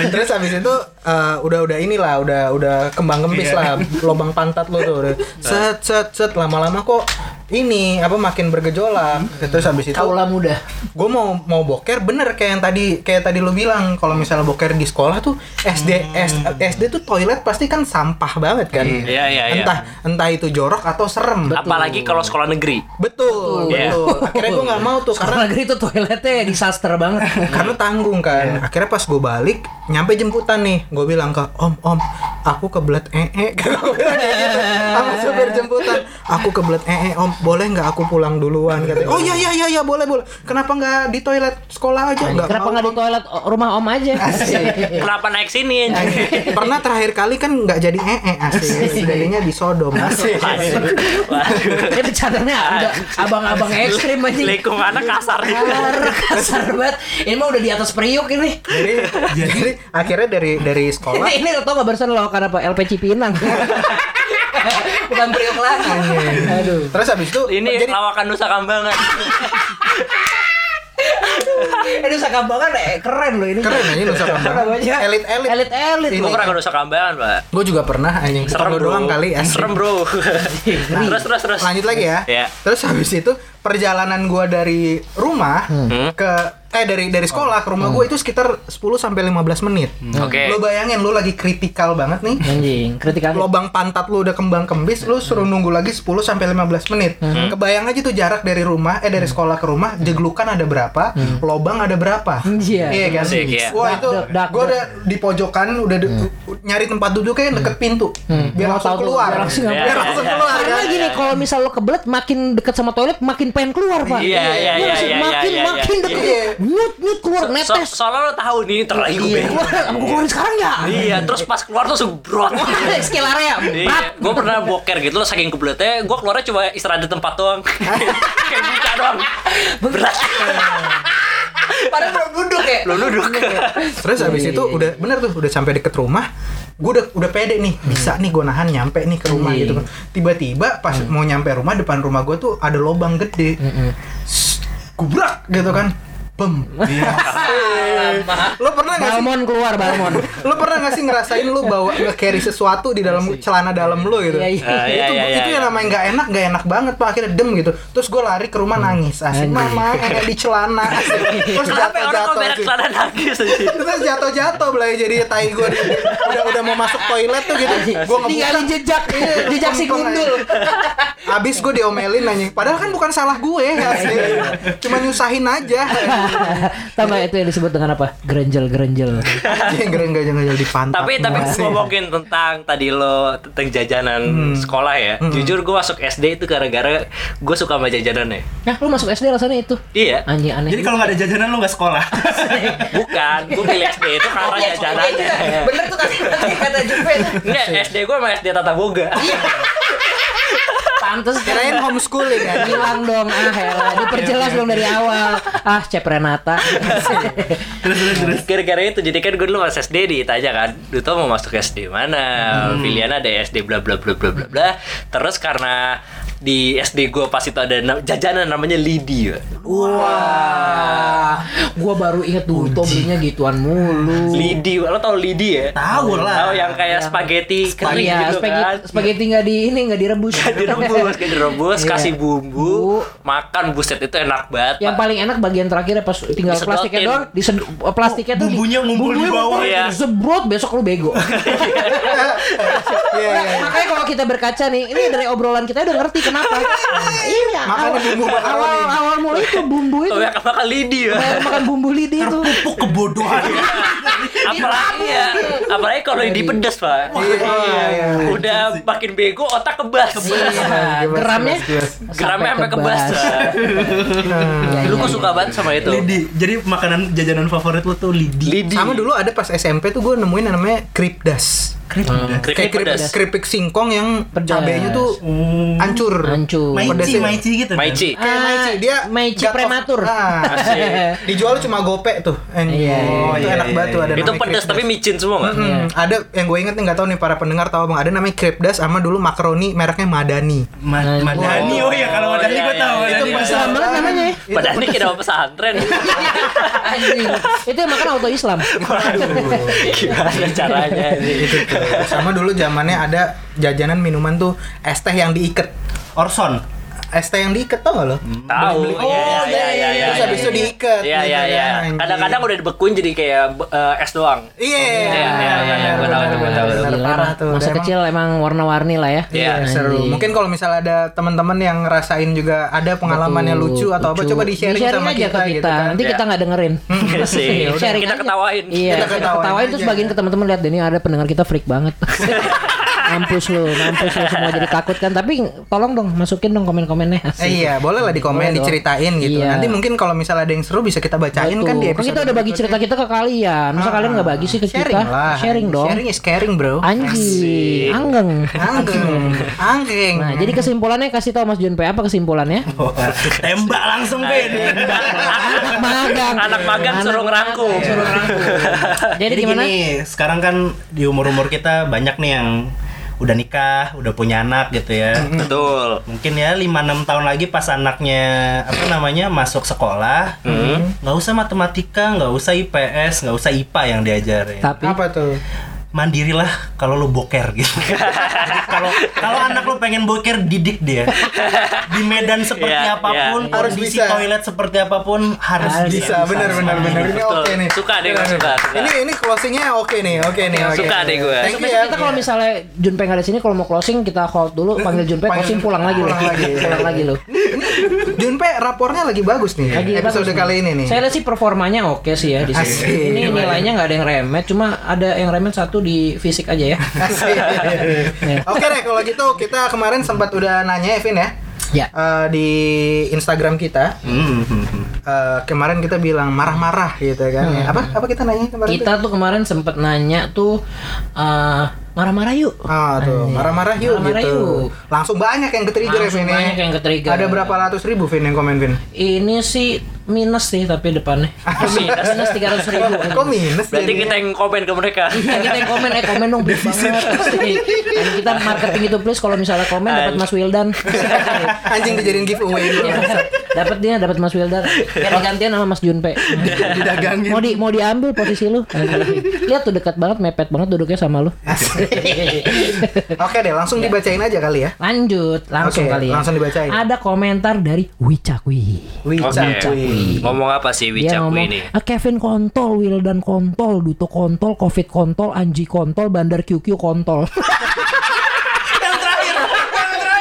D: Terus habis itu eh, udah udah inilah udah udah kembang kempis lah lobang pantat lo tuh udah set set set lama-lama kok ini apa makin bergejolak terus habis itu
E: Kaula muda.
D: gue mau mau boker bener kayak yang tadi kayak tadi lo bilang kalau misalnya boker di sekolah tuh SD S- SD tuh toilet pasti kan sampah banget kan
C: Hmm. Iya, iya, iya.
D: entah entah itu jorok atau serem
C: Apalagi kalau sekolah negeri.
D: betul betul,
C: Iya.
D: akhirnya gue nggak mau tuh karena
E: Sekolah negeri itu toiletnya disaster banget.
D: karena tanggung kan
C: Iya.
D: akhirnya pas gue balik nyampe jemputan nih gue bilang ke om om aku kebelet ee Karena gua bilang kayak gitu sama supir jemputan aku kebelet ee om boleh nggak aku pulang duluan katanya oh iya iya iya iya, boleh boleh kenapa nggak di toilet sekolah
C: Iya,
D: aja nggak
E: Kenapa
D: mau,
E: nggak di
D: Om."
E: toilet o- rumah om aja? Iya.
C: Kenapa naik sini anjing?
D: pernah terakhir kali kan nggak jadi ee asik jadinya di Sodom asik
C: Waduh. Waduh.
E: Ini bercandanya udah abang-abang ekstrim aja.
C: Lingkungannya kasar.
E: Kasar banget. Ini mah udah di atas periuk ini.
D: jadi jadi akhirnya dari dari sekolah
E: Ini, ini tau gak barusan lo karena apa? LP Cipinang Bukan Priok lagi Aduh
D: terus habis itu
C: Ini
D: jadi
C: lawakan Nusa Kambangan.
E: Ini sakambangan eh, keren loh ini
D: keren
C: eh.
D: aja Nusa Kambangan
E: Namanya
D: elit-elit
E: Elit-elit
C: Gue pernah ke Nusa Kambangan, Pak.
D: gue juga pernah anjing
C: Serem
D: Lo
C: bro.
D: kan. doang kali asik.
C: Serem bro. terus terus terus.
D: lanjut lagi ya.
C: Iya.
D: Terus habis itu perjalanan gua dari rumah ke eh dari dari sekolah ke rumah gua itu sekitar 10 sampai 15 menit.
C: Oke.
D: Lo bayangin lu lagi kritikal banget nih.
E: Anjing, kritikan
D: Lobang pantat lu udah kembang kembis, lu suruh
E: Hmm.
D: nunggu lagi 10 sampai 15 menit.
C: Hmm.
D: Kebayang aja tuh jarak dari rumah eh dari
E: Hmm.
D: sekolah ke rumah, jeglukan ada berapa, lobang ada berapa.
E: Iya.
D: Iya kan?
C: Asik, iya.
D: Wah, itu
E: Dak, dak, Hmm.
D: gua
E: dak.
D: udah di pojokan udah di- nyari tempat duduknya yang deket pintu. Biar
E: Gua
D: langsung
E: Hmm. tahu tuh,
D: keluar.
E: biar langsung
D: Biar
C: ngambil.
D: langsung keluar.
E: karena
D: kan?
C: iya,
E: gini, kalau misal lo kebelet, makin dekat sama toilet, makin pengen keluar, Pak.
C: Iya, iya, iya,
E: maksud
C: iya,
E: Makin,
C: iya, iya,
E: makin
C: iya.
E: deket.
D: Iya.
E: Nyut, nyut, keluar,
C: So,
E: netes.
C: soalnya lo tahu nih ntar lagi gue
E: Iya,
C: beres.
E: keluar, aku keluarin sekarang ya.
C: Iya, terus pas keluar tuh langsung brot.
E: Skill area, berat.
C: Iya, gue pernah boker gitu loh saking kebeletnya, gue keluarnya cuma istirahat di tempat doang. Kayak buka doang. Berat.
G: Padahal belum duduk ya.
C: Lo duduk.
D: Terus
E: Iya,
D: abis itu udah bener tuh udah sampai deket rumah, gue udah udah pede nih bisa nih gue nahan nyampe nih ke
E: Iya,
D: rumah gitu kan. Tiba-tiba pas
E: Hmm.
D: mau nyampe rumah depan rumah gue tuh ada lobang gede, Sss, gubrak gitu kan, bem.
E: Iya.
D: Lo pernah nggak sih?
E: Balmon keluar, Balmon.
D: Lo pernah nggak sih ngerasain lo bawa nge-carry sesuatu di dalam celana dalam lo gitu?
E: Iya, iya.
C: Ah, iya,
D: itu
C: iya, iya,
D: itu
C: iya.
D: yang namanya nggak enak nggak enak banget pak akhirnya dem gitu terus gue lari ke rumah nangis asik
E: Hmm. Anjing.
D: mama enak di celana asik. terus
C: Kenapa
D: jatuh gitu.
C: orang kok berak
D: jatuh
C: celana nangis sih?
D: terus jatuh-jatuh belai jadi tai gue udah udah mau masuk toilet tuh gitu Iya, gue
E: Tinggalin jejak, jejak si gundul.
D: abis gue diomelin anjing padahal kan bukan salah gue asli. cuma nyusahin aja
E: Tahu nggak itu yang disebut dengan apa? Gerenjel-gerenjel.
D: anjing keren gak jangan jadi pantat
C: tapi tapi
D: Asik.
C: ngomongin tentang tadi lo tentang jajanan
D: Hmm.
C: sekolah ya jujur gue masuk SD itu gara-gara gue suka sama jajanannya
E: Nah, lu masuk SD alasannya itu.
C: iya
E: Anjing aneh.
F: Jadi kalau nggak ada jajanan lo nggak sekolah.
C: bukan gue pilih SD itu
E: Oh,
C: karena
G: Iya,
C: jajanannya
G: iya, iya. Bener tuh tadi tadi kata Juven.
C: Enggak, SD gue sama SD Tata Boga
E: pantes
D: kirain homeschooling kan
E: bilang dong ah elah, diperjelas dong dari awal ah cep Renata
F: terus terus terus.
C: Gara-gara itu jadi kan gue dulu masuk SD ditanya kan Duto
F: Hmm.
C: mau masuk SD mana Pilihan ada SD bla bla bla bla bla bla Terus karena di SD gua pas itu ada na- jajanan namanya lidi ya. Pak.
F: Hmm.
E: Wah, gua baru inget dulu Tom belinya gituan mulu.
C: lidi Pak. lo tau lidi ya
F: Tahu lah.
C: tahu yang kayak spaghetti kering
E: Iya,
C: gitu
E: spaghetti,
C: kan
E: spaghetti nggak di ini nggak direbus.
C: direbus kayak direbus
E: Iya.
C: kasih
E: Bu.
C: bumbu makan buset itu enak banget
E: Yang
C: Pak.
E: paling enak bagian terakhir ya pas tinggal
C: Disedotin.
E: plastiknya doang, dised- plastiknya tuh di-
F: Bumbunya ngumpul di
E: bumbunya
F: bawah,
E: ngumpul,
C: iya.
E: Zebrot besok lu bego.
D: Iya, iya.
E: Makanya kalau kita berkaca nih, ini dari obrolan kita udah ngerti kenapa. iya.
D: Makanya
E: awal-
D: bumbu makaroni.
E: awal awal mulai itu bumbu itu.
C: Tuh, yang makan lidi ya
E: Bayar makan bumbu lidi itu.
F: Terpupuk kebodohan.
C: apalagi ya apalagi kalau ini pedas pak
D: Iya, iya.
C: udah makin bego otak kebas
E: Iya. Geramnya
C: geramnya sampai kebas
E: Iya,
C: dulu
E: iya,
C: gua suka banget sama itu
F: Lidi. Jadi makanan jajanan favorit lu tuh lidi.
C: lidi
D: Sama dulu ada pas SMP tuh gue nemuin yang namanya kripdas.
C: keripik
D: Kayak krip,
C: pedas
D: keripik singkong yang
E: Pedas.
D: cabenya tuh hancur.
E: Hancur.
C: ya.
D: Pedasnya.
F: Maici, maici gitu. kan?
C: maici
D: Kayak
E: Ah,
D: maici dia
E: maici
D: cut off.
E: prematur.
D: Ah,
C: Asik.
D: dijual cuma gopek tuh. Anjing.
E: Iya, iya,
D: Oh, itu
F: iya,
D: enak
F: iya,
D: banget tuh ada
C: itu
D: namanya
C: pedas
D: kripdas.
C: tapi micin semua nggak
D: Hmm, ada yang gue inget nih nggak tahu nih para pendengar tahu bang ada namanya kripdas sama dulu makaroni mereknya madani
F: Ma- Madani, oh ya kalau
C: Nah,
F: madani
C: iya,
F: gue
C: iya,
F: tahu.
C: iya,
F: Madani
C: iya.
F: gua
E: Islam
F: tahu.
E: banget
D: kan?
E: namanya. ya.
D: Itu
C: padahal ini kira apa pesantren
E: Anjing. Itu yang makan auto Islam.
C: gimana caranya ini
D: sama dulu zamannya ada jajanan minuman tuh es teh yang diikat
F: Orson.
D: es teh yang diikat tau gak lo
C: tahu ya ya ya ya
D: terus
C: ya,
D: habis
C: ya.
D: itu diikat Nah,
C: Iya iya iya.
D: Anjing.
C: Kadang-kadang udah dibekuin jadi kayak eh, es doang.
D: Iya,
C: Iya, iya, iya, iya, gua tahu, gua tahu.
D: Bener,
E: Gila,
D: parah
E: emang
D: tuh.
E: Masa
D: Udah
E: kecil emang warna-warni lah ya.
C: Iya.
D: emang seru.
E: Anjing.
D: Mungkin kalau misalnya ada teman-teman yang ngerasain juga ada pengalamannya
E: Betul,
D: lucu atau apa,
E: lucu.
D: coba di-sharing sama
E: aja
D: kita,
E: ke
D: gitu kan.
E: Nanti
C: Iya.
E: kita nggak dengerin.
C: Iya sih. Udah,
E: Sharing
C: kita
E: aja.
C: ketawain.
E: Iya,
D: Kita
E: kita
D: ketawain
E: ketawain, terus
D: aja.
E: bagiin ke teman-teman lihat deh, ini ada pendengar kita freak banget. mampus lu, mampus lu semua jadi takut kan. Tapi tolong dong masukin dong komen-komennya.
D: Eh, iya, boleh lah di komen,
E: Boleh dong.
D: diceritain gitu.
E: Iya.
D: Nanti mungkin kalau misalnya ada yang seru bisa kita bacain
E: Betul.
D: kan di
E: Kan
D: episode.
E: kita udah bagi cerita kita ke kalian. Masa
D: Ah,
E: kalian nggak bagi sih ke
D: sharing
E: kita?
D: Lah.
E: Sharing dong.
D: Sharing is caring, bro.
E: Anjing, anggeng.
D: Angkeng, angkeng.
E: Nah, jadi kesimpulannya kasih tahu Mas Junpei apa kesimpulannya?
F: Oh, Tembak langsung,
C: Iya,
F: Ben.
E: Anak magang.
C: Anak magang suruh ngerangkum.
E: Suruh ngerangkum. Jadi
F: Jadi
E: gimana?
F: gini, sekarang kan di umur-umur kita banyak nih yang udah nikah, udah punya anak gitu ya.
C: Betul.
F: Mungkin ya 5-6 tahun lagi pas anaknya apa namanya masuk sekolah,
E: Mm-hmm.
F: nggak usah matematika, nggak usah IPS, nggak usah IPA yang diajarin.
E: Tapi
D: Apa tuh?
F: Mandirilah kalau lu boker gitu. Jadi kalau kalau anak lu pengen boker didik dia. Di medan seperti
C: Iya, iya.
F: apapun,
D: Harus
F: kondisi
D: bisa.
F: toilet seperti apapun harus,
D: Bisa, benar benar benar. Ini
C: Betul.
D: oke nih.
C: Suka deh,
D: Benar,
C: gua suka,
D: benar.
C: suka.
D: Ini ini closingnya oke nih, oke nih, oke.
C: Suka deh gua.
D: Thank you
E: Besok
D: ya.
E: kita kalau misalnya Junpei nggak ada sini kalau mau closing kita hold dulu panggil Junpei
D: Panggil-
E: closing pulang lagi
D: pulang lagi.
E: loh. Pulang lagi loh.
D: Junpe rapornya lagi bagus nih.
E: Lagi
D: episode
E: bagus
D: kali ini nih.
E: Saya lihat sih performanya oke sih ya di
D: Asik.
E: sini. Ini nilainya nggak ada yang remet, cuma ada yang remet satu di fisik aja ya.
D: Asik. Oke deh kalau gitu kita kemarin sempat udah nanya Evin ya.
E: Ya.
D: Eh, di Instagram kita
F: Hmm.
D: eh, kemarin kita bilang marah-marah gitu kan ya. apa apa kita nanya kemarin tuh?
E: Kita tuh kemarin sempet nanya tuh eh, marah-marah yuk.
D: Ah tuh marah-marah yuk
E: Marah-marah
D: gitu
E: yuk.
D: langsung banyak yang ketrigger Vin,
E: Langsung
D: ya.
E: banyak yang ketrigger.
D: ada berapa ratus ribu Vin yang komen Vin
E: Ini sih minus sih tapi depannya. minus tiga ratus ribu.
D: kok minus
C: Berarti
D: jadinya?
C: kita yang komen ke mereka.
E: Ya, kita yang komen, eh komen dong please banget pasti. Dan kita marketing itu please kalau misalnya komen dapat Mas Wildan.
D: anjing dijadiin giveaway
E: Ya, dapat dia, dapat Mas Wildan. Biar digantian sama Mas Junpe.
D: Oh. didagangin
E: Mau di mau diambil posisi lu. Lihat tuh dekat banget, mepet banget duduknya sama lu.
D: oke deh langsung dibacain aja kali ya
E: Lanjut, langsung
D: Oke,
E: kali ya.
D: langsung dibacain.
E: Ada komentar dari Wicakwi.
C: Oke. Ngomong apa sih
E: Dia
C: Wicakku
E: ngomong,
C: ini?
E: "Ah, Kevin kontol, Wildan kontol, Duto kontol, Covid kontol, Anji kontol, Bandar QQ kontol.
F: Yang terakhir.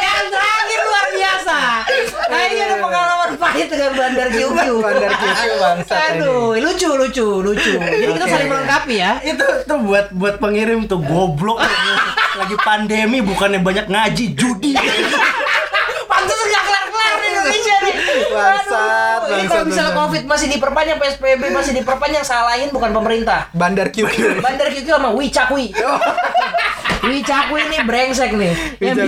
G: Yang terakhir luar biasa. Kayaknya ada pengalaman pahit dengan bandar QQ.
D: Bandar QQ bangsat
G: Aduh, lucu lucu lucu. Jadi kita
D: Oke.
G: saling melengkapi ya.
F: itu itu buat buat pengirim tuh goblok lagi pandemi bukannya banyak ngaji judi
G: Pantes nggak kelar-kelar di Indonesia nih. Aduh, ini
D: Bangsat, bangsat,
G: kalau misalnya
D: bangsat.
G: COVID masih diperpanjang, PSBB masih diperpanjang, salahin bukan pemerintah.
D: bandar QQ Oh.
G: Bandar QQ sama Wicakwi.
E: Wicaku ini brengsek nih. Yang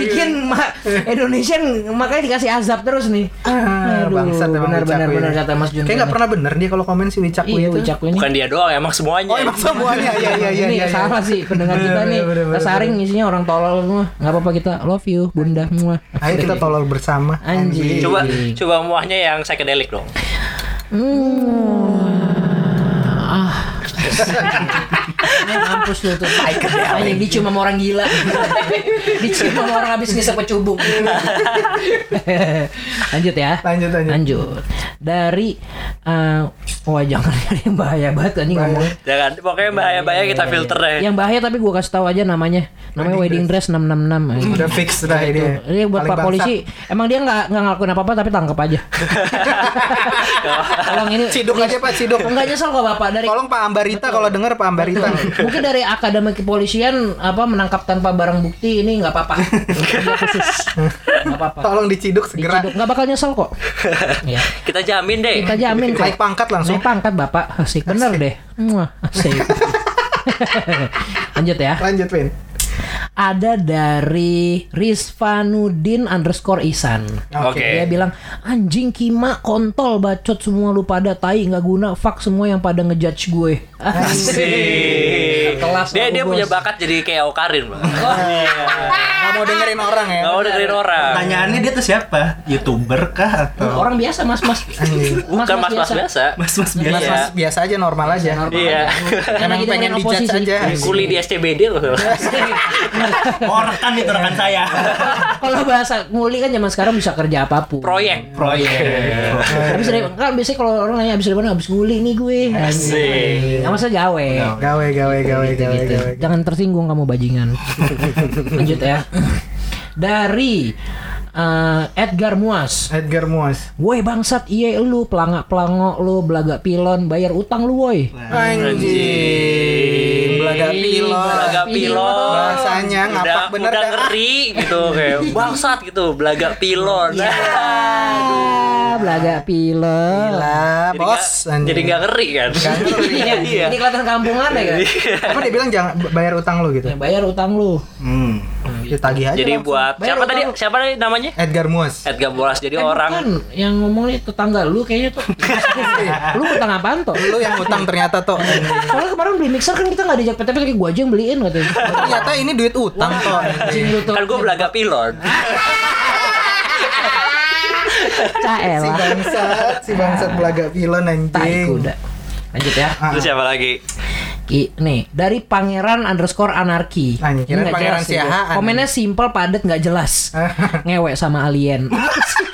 D: Wicaku.
E: bikin ma- Indonesia makanya dikasih azab terus nih.
D: Ah,
E: Aduh,
D: bangsat emang
E: benar
D: Wicak
E: benar
D: ini.
E: benar kata Mas Jun.
D: Kayak nggak pernah bener dia kalau komen si Wicak
E: Iya,
D: itu.
E: Wicaku ini.
C: Bukan dia doang, emang semuanya.
D: Oh
E: Iya,
D: emang semuanya ya ya ya
E: ini
D: ya.
E: salah iya, sih pendengar
D: Bener,
E: kita
D: bener,
E: nih.
D: iya, bener, bener,
E: Kesaring isinya orang tolol semua. Enggak apa-apa kita love you, Bunda semua.
D: Ayo kita tolol bersama.
E: Anjing.
C: Coba coba muahnya yang psychedelic dong.
E: Ini mampus lu tuh. Hanya dicium sama orang gila. dicium sama orang habis ngisep pecubung. lanjut ya.
D: Lanjut, lanjut.
E: Dari eh, wah jangan ada yang bahaya banget anjing ngomong.
C: Jangan Ya kan? pokoknya
E: Iya,
C: bahaya-bahaya kita filter deh.
E: Yang bahaya tapi gua kasih tahu aja namanya. Namanya wedding dress 666. anjing.
D: Udah fix lah ini.
E: Ini Iya, buat
D: Paling
E: Pak
D: bangsat.
E: Polisi, emang dia nggak nggak ngelakuin apa-apa tapi tangkap aja. Tolong ini
D: Ciduk aja Pak Ciduk.
E: nggak nyesel kok Bapak dari
D: Tolong Pak Ambarita kalau denger Pak Ambarita.
E: mungkin dari akademi kepolisian apa menangkap tanpa barang bukti ini nggak apa-apa. Dia khusus. Nggak apa-apa.
D: Tolong diciduk segera.
E: Diciduk. Nggak bakal nyesel kok. Iya.
C: Kita jamin deh.
E: Kita jamin kok.
D: Naik pangkat langsung.
E: Naik pangkat Bapak. Asik bener deh. Muah, asik. Lanjut ya.
D: Lanjut Win.
E: Ada dari Rizvanudin underscore Isan.
C: Oke.
E: Dia bilang anjing kima kontol bacot semua lu pada tai nggak guna fuck semua yang pada ngejudge gue.
C: Sih.
E: Kelas
C: Dia
E: aku,
C: dia
E: Bos.
C: punya bakat jadi kayak Okarin, Bang.
D: Nggak mau dengerin orang ya.
C: Enggak mau dengerin orang.
F: Pertanyaannya dia tuh siapa? Youtuber kah
D: Nah.
F: atau
E: Orang biasa mas-mas.
C: Bukan mas-mas biasa.
F: mas-mas biasa?
D: Mas, mas, biasa aja normal aja.
C: Iya.
D: Emang pengen dijudge aja.
C: Kuli di SCBD loh.
F: Oh rekan itu rekan saya.
E: Kalau bahasa nguli kan zaman sekarang bisa kerja apapun.
C: Proyek.
F: Proyek.
E: Habis dari kan biasanya kalau orang nanya habis dari mana habis nguli nih gue. Asik. Sama saya gawe.
D: Gawe gawe Nah, gawe gawe
E: Gitu.
D: gawe.
E: Jangan tersinggung kamu bajingan. Lanjut ya. Dari eh, Edgar Muas.
D: Edgar Muas.
E: Woi bangsat iye lu pelangak pelango lu belaga pilon bayar utang lu woi.
D: Anjing. Belaga
C: Iya,
D: pilot.
C: Belaga pilon.
D: Bahasanya
C: udah,
D: ngapak bener kan?
C: udah
D: dah.
C: ngeri gitu kayak bangsat gitu belaga Nah, pilon.
D: Iya.
E: Ah, belaga pilon.
D: Gila,
C: Jadi
D: bos.
C: nggak- Jadi nggak ngeri kan?
E: Iya,
C: Iya.
E: Ini kelihatan kampungan ya kan.
D: Apa dia bilang jangan bayar utang lu gitu?
E: Ya, Bayar utang lu.
F: Hmm.
D: Ya tagih aja.
C: Jadi
D: langsung.
C: buat
E: Bayar
C: siapa
E: utang
C: tadi
E: lu.
C: siapa tadi namanya?
D: Edgar Muas.
C: Edgar Bolas. Jadi
E: Eh,
C: orang
E: bukan. yang ngomong nih tetangga lu kayaknya tuh. lu utang apaan toh?
D: Lu yang utang ternyata toh.
E: Soalnya kemarin beli mixer kan kita nggak diajak PT tapi gua aja yang beliin katanya.
D: ternyata ini duit utang toh.
E: Anjing lu tuh.
C: kan gue belaga pilon.
D: Si
E: Caelah.
D: bangsat, si bangsat belaga pilon
E: Tai
D: anjing.
E: kuda. Lanjut ya.
D: Ah.
C: Terus siapa lagi?
E: Ki, nih dari pangeran underscore anarki.
D: Anjing, kirain
E: Ini nggak
D: pangeran
E: jelas sih.
D: siahaan.
E: Komennya simple, padat, nggak jelas. Ngewek sama alien.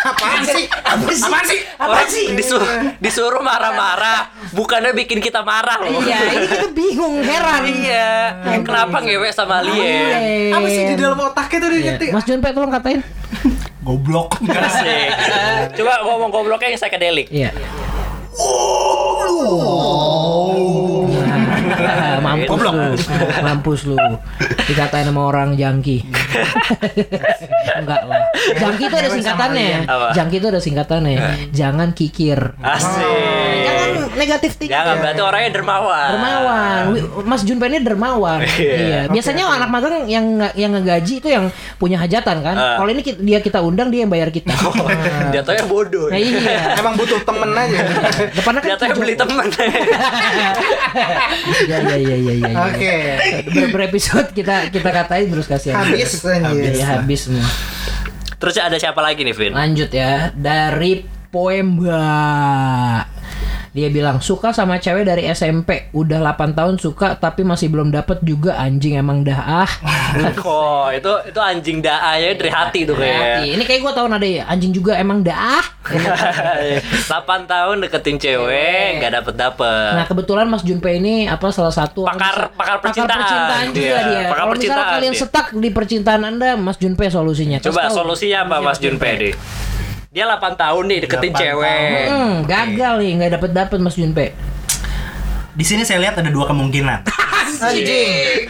D: Apaan sih? Apaan sih?
C: Orang disuruh disuruh marah-marah, bukannya bikin kita marah loh.
E: Iya, ini kita bingung, heran.
C: Iya. Kenapa ngewek sama alien?
E: Alien.
D: Apa sih di dalam otaknya tuh dia ngetik?
E: Iya. Mas Junpei tolong katain.
F: Goblok.
C: Asik. Coba ngomong gobloknya yang psychedelic.
E: Iya. Nah, mampus
C: Goblok.
E: lu, mampus lu. Dikatain sama orang jangki. Enggak lah. Jangki itu ada singkatannya.
C: Apa? Eh.
E: Jangki itu ada singkatannya. Jangan kikir.
C: Asik.
E: Jangan negatif thinking.
C: Jangan Ah. berarti orangnya dermawan.
E: kan dermawan Wi- Mas Junpen ini dermawan iya biasanya anak magang yang nge- yang ngegaji itu yang punya hajatan kan
C: Ah. Oh.
E: kalau ini ki- dia kita undang dia yang bayar kita
C: Jatuhnya bodoh.
E: nah, iya
D: Emang butuh temen aja.
E: depannya kan
C: Jatuhnya beli temen.
E: ya ya ya ya ya, ya.
D: Oke.
E: Ber- berepisode kita kita katain terus kasihan
D: Habis
E: Ya,
D: anjing.
E: habis semua
C: Terus ada siapa lagi nih, Vin?
E: lanjut ya dari Poemba dia bilang suka sama cewek dari SMP udah 8 tahun suka tapi masih belum dapet juga anjing emang dah ah
C: Kok itu itu anjing daanya dari hati tuh
E: Hati.
C: kayak.
E: Ini kayak gue tau nada ya. Anjing juga emang dah. ah.
C: 8 tahun deketin cewek, nggak dapet dapet.
E: Nah kebetulan Mas Junpei ini apa salah satu orang
C: Ya. Pakar-
E: bisa-
C: pakar percintaan.
E: percintaan juga
C: Iya,
E: dia.
C: pakar
E: Kalau misalnya
C: percintaan
E: kalian
C: dia.
E: setak di percintaan anda, Mas Junpei solusinya. Kasih
C: Coba
E: tahu. Iya,
C: solusinya apa Mas Junpei deh? Dia 8 tahun nih deketin
F: 8
C: cewek.
E: Hmm, gagal nih, nggak dapet dapet Mas Junpei.
F: Di sini saya lihat ada dua kemungkinan.
D: Anjing.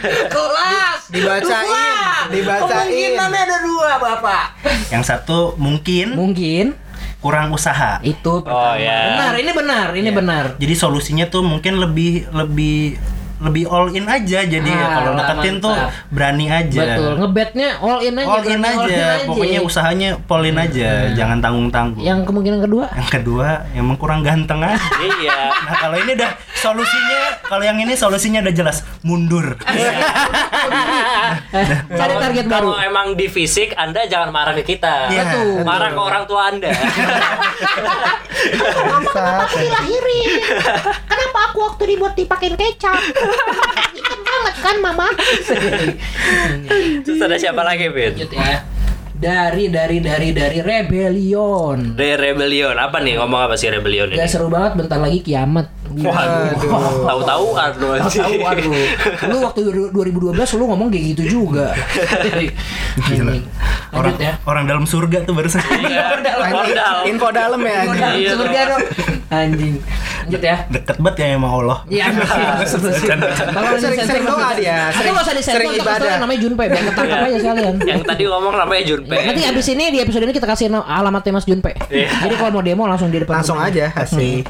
D: Iya.
E: Kelas.
D: Dibacain, dibacain.
E: ada dua bapak.
F: Yang satu mungkin
E: Mungkin
F: kurang usaha.
E: itu
C: Oh
E: pertama.
C: ya.
E: Benar, ini benar, ini benar.
F: Jadi solusinya tuh mungkin lebih lebih lebih all in aja jadi ya
E: Ah,
F: kalau deketin tuh
E: mantap.
F: berani aja
E: Betul, ngebetnya all in aja.
F: Iya. all in
E: berani
F: aja pokoknya usahanya all in aja jangan tanggung tanggung
E: Yang kemungkinan kedua,
F: yang kedua emang kurang ganteng aja
C: Iya.
F: Nah kalau ini udah solusinya, kalau yang ini solusinya udah jelas mundur.
E: Iya. eh, cari target baru.
C: Kalau emang di fisik, Anda jangan marah ke kita.
F: Iya. Betul.
C: Marah ke orang tua Anda.
H: Kenapa aku dilahirin? Kenapa aku waktu dibuat dipakein kecap? Ikan banget kan mama?
C: Terus ada siapa lagi, Bin?
E: Lanjut ya. Dari dari dari dari rebellion.
C: Dari Rebellion. Apa nih? Ngomong apa sih Rebellion ini?
E: Gak seru banget bentar lagi kiamat.
C: Waduh. Tahu-tahu aduh.
E: Tahu aduh. Lu waktu du- 2012 lu ngomong kayak gitu juga.
F: Gila.
E: Ini.
F: Orang,
E: Lanjut ya. Iya.
F: orang dalam surga tuh barusan.
C: Modal.
D: Info dalam ya.
E: Udah,
D: anjing.
C: Iya,
E: surga dong. Anjing. Lanjut ya.
F: Deket banget ya emang Allah.
E: Iya,
D: Sering-sering doa dia,
E: Atau
D: sering-
E: nggak usah disensor,
D: sering
E: ntar
D: ibadah. Iya.
E: Namanya Junpei, biar ketangkap aja sekalian.
C: Yang tadi ngomong namanya Junpei.
E: Ya, nanti abis ini di episode ini kita kasih no- alamatnya Mas Junpe. Jadi kalau mau demo langsung di depan.
D: Langsung
E: rumahnya.
D: aja asik.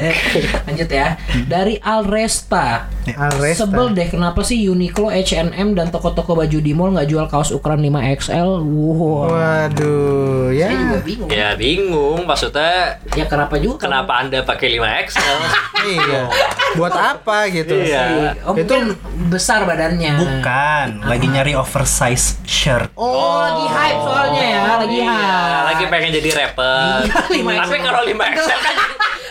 E: Lanjut ya. Dari Alresta.
D: Alresta.
E: Sebel deh kenapa sih Uniqlo, H&M dan toko-toko baju di mall nggak jual kaos ukuran 5XL? Wow.
D: Waduh,
E: Saya juga
D: ya.
E: bingung.
C: Ya bingung maksudnya
E: Ya kenapa juga?
C: kenapa Anda pakai 5XL?
D: Iya. Buat apa gitu?
C: Iya.
E: Oh,
D: Itu
E: mungkin besar badannya.
F: Bukan,
E: Iya.
F: lagi nyari oversize shirt.
E: Oh, lagi hype soalnya ya, lagi
C: Iya,
E: hype.
C: lagi pengen jadi rapper.
E: Iya,
C: Tapi kalau 5XL kan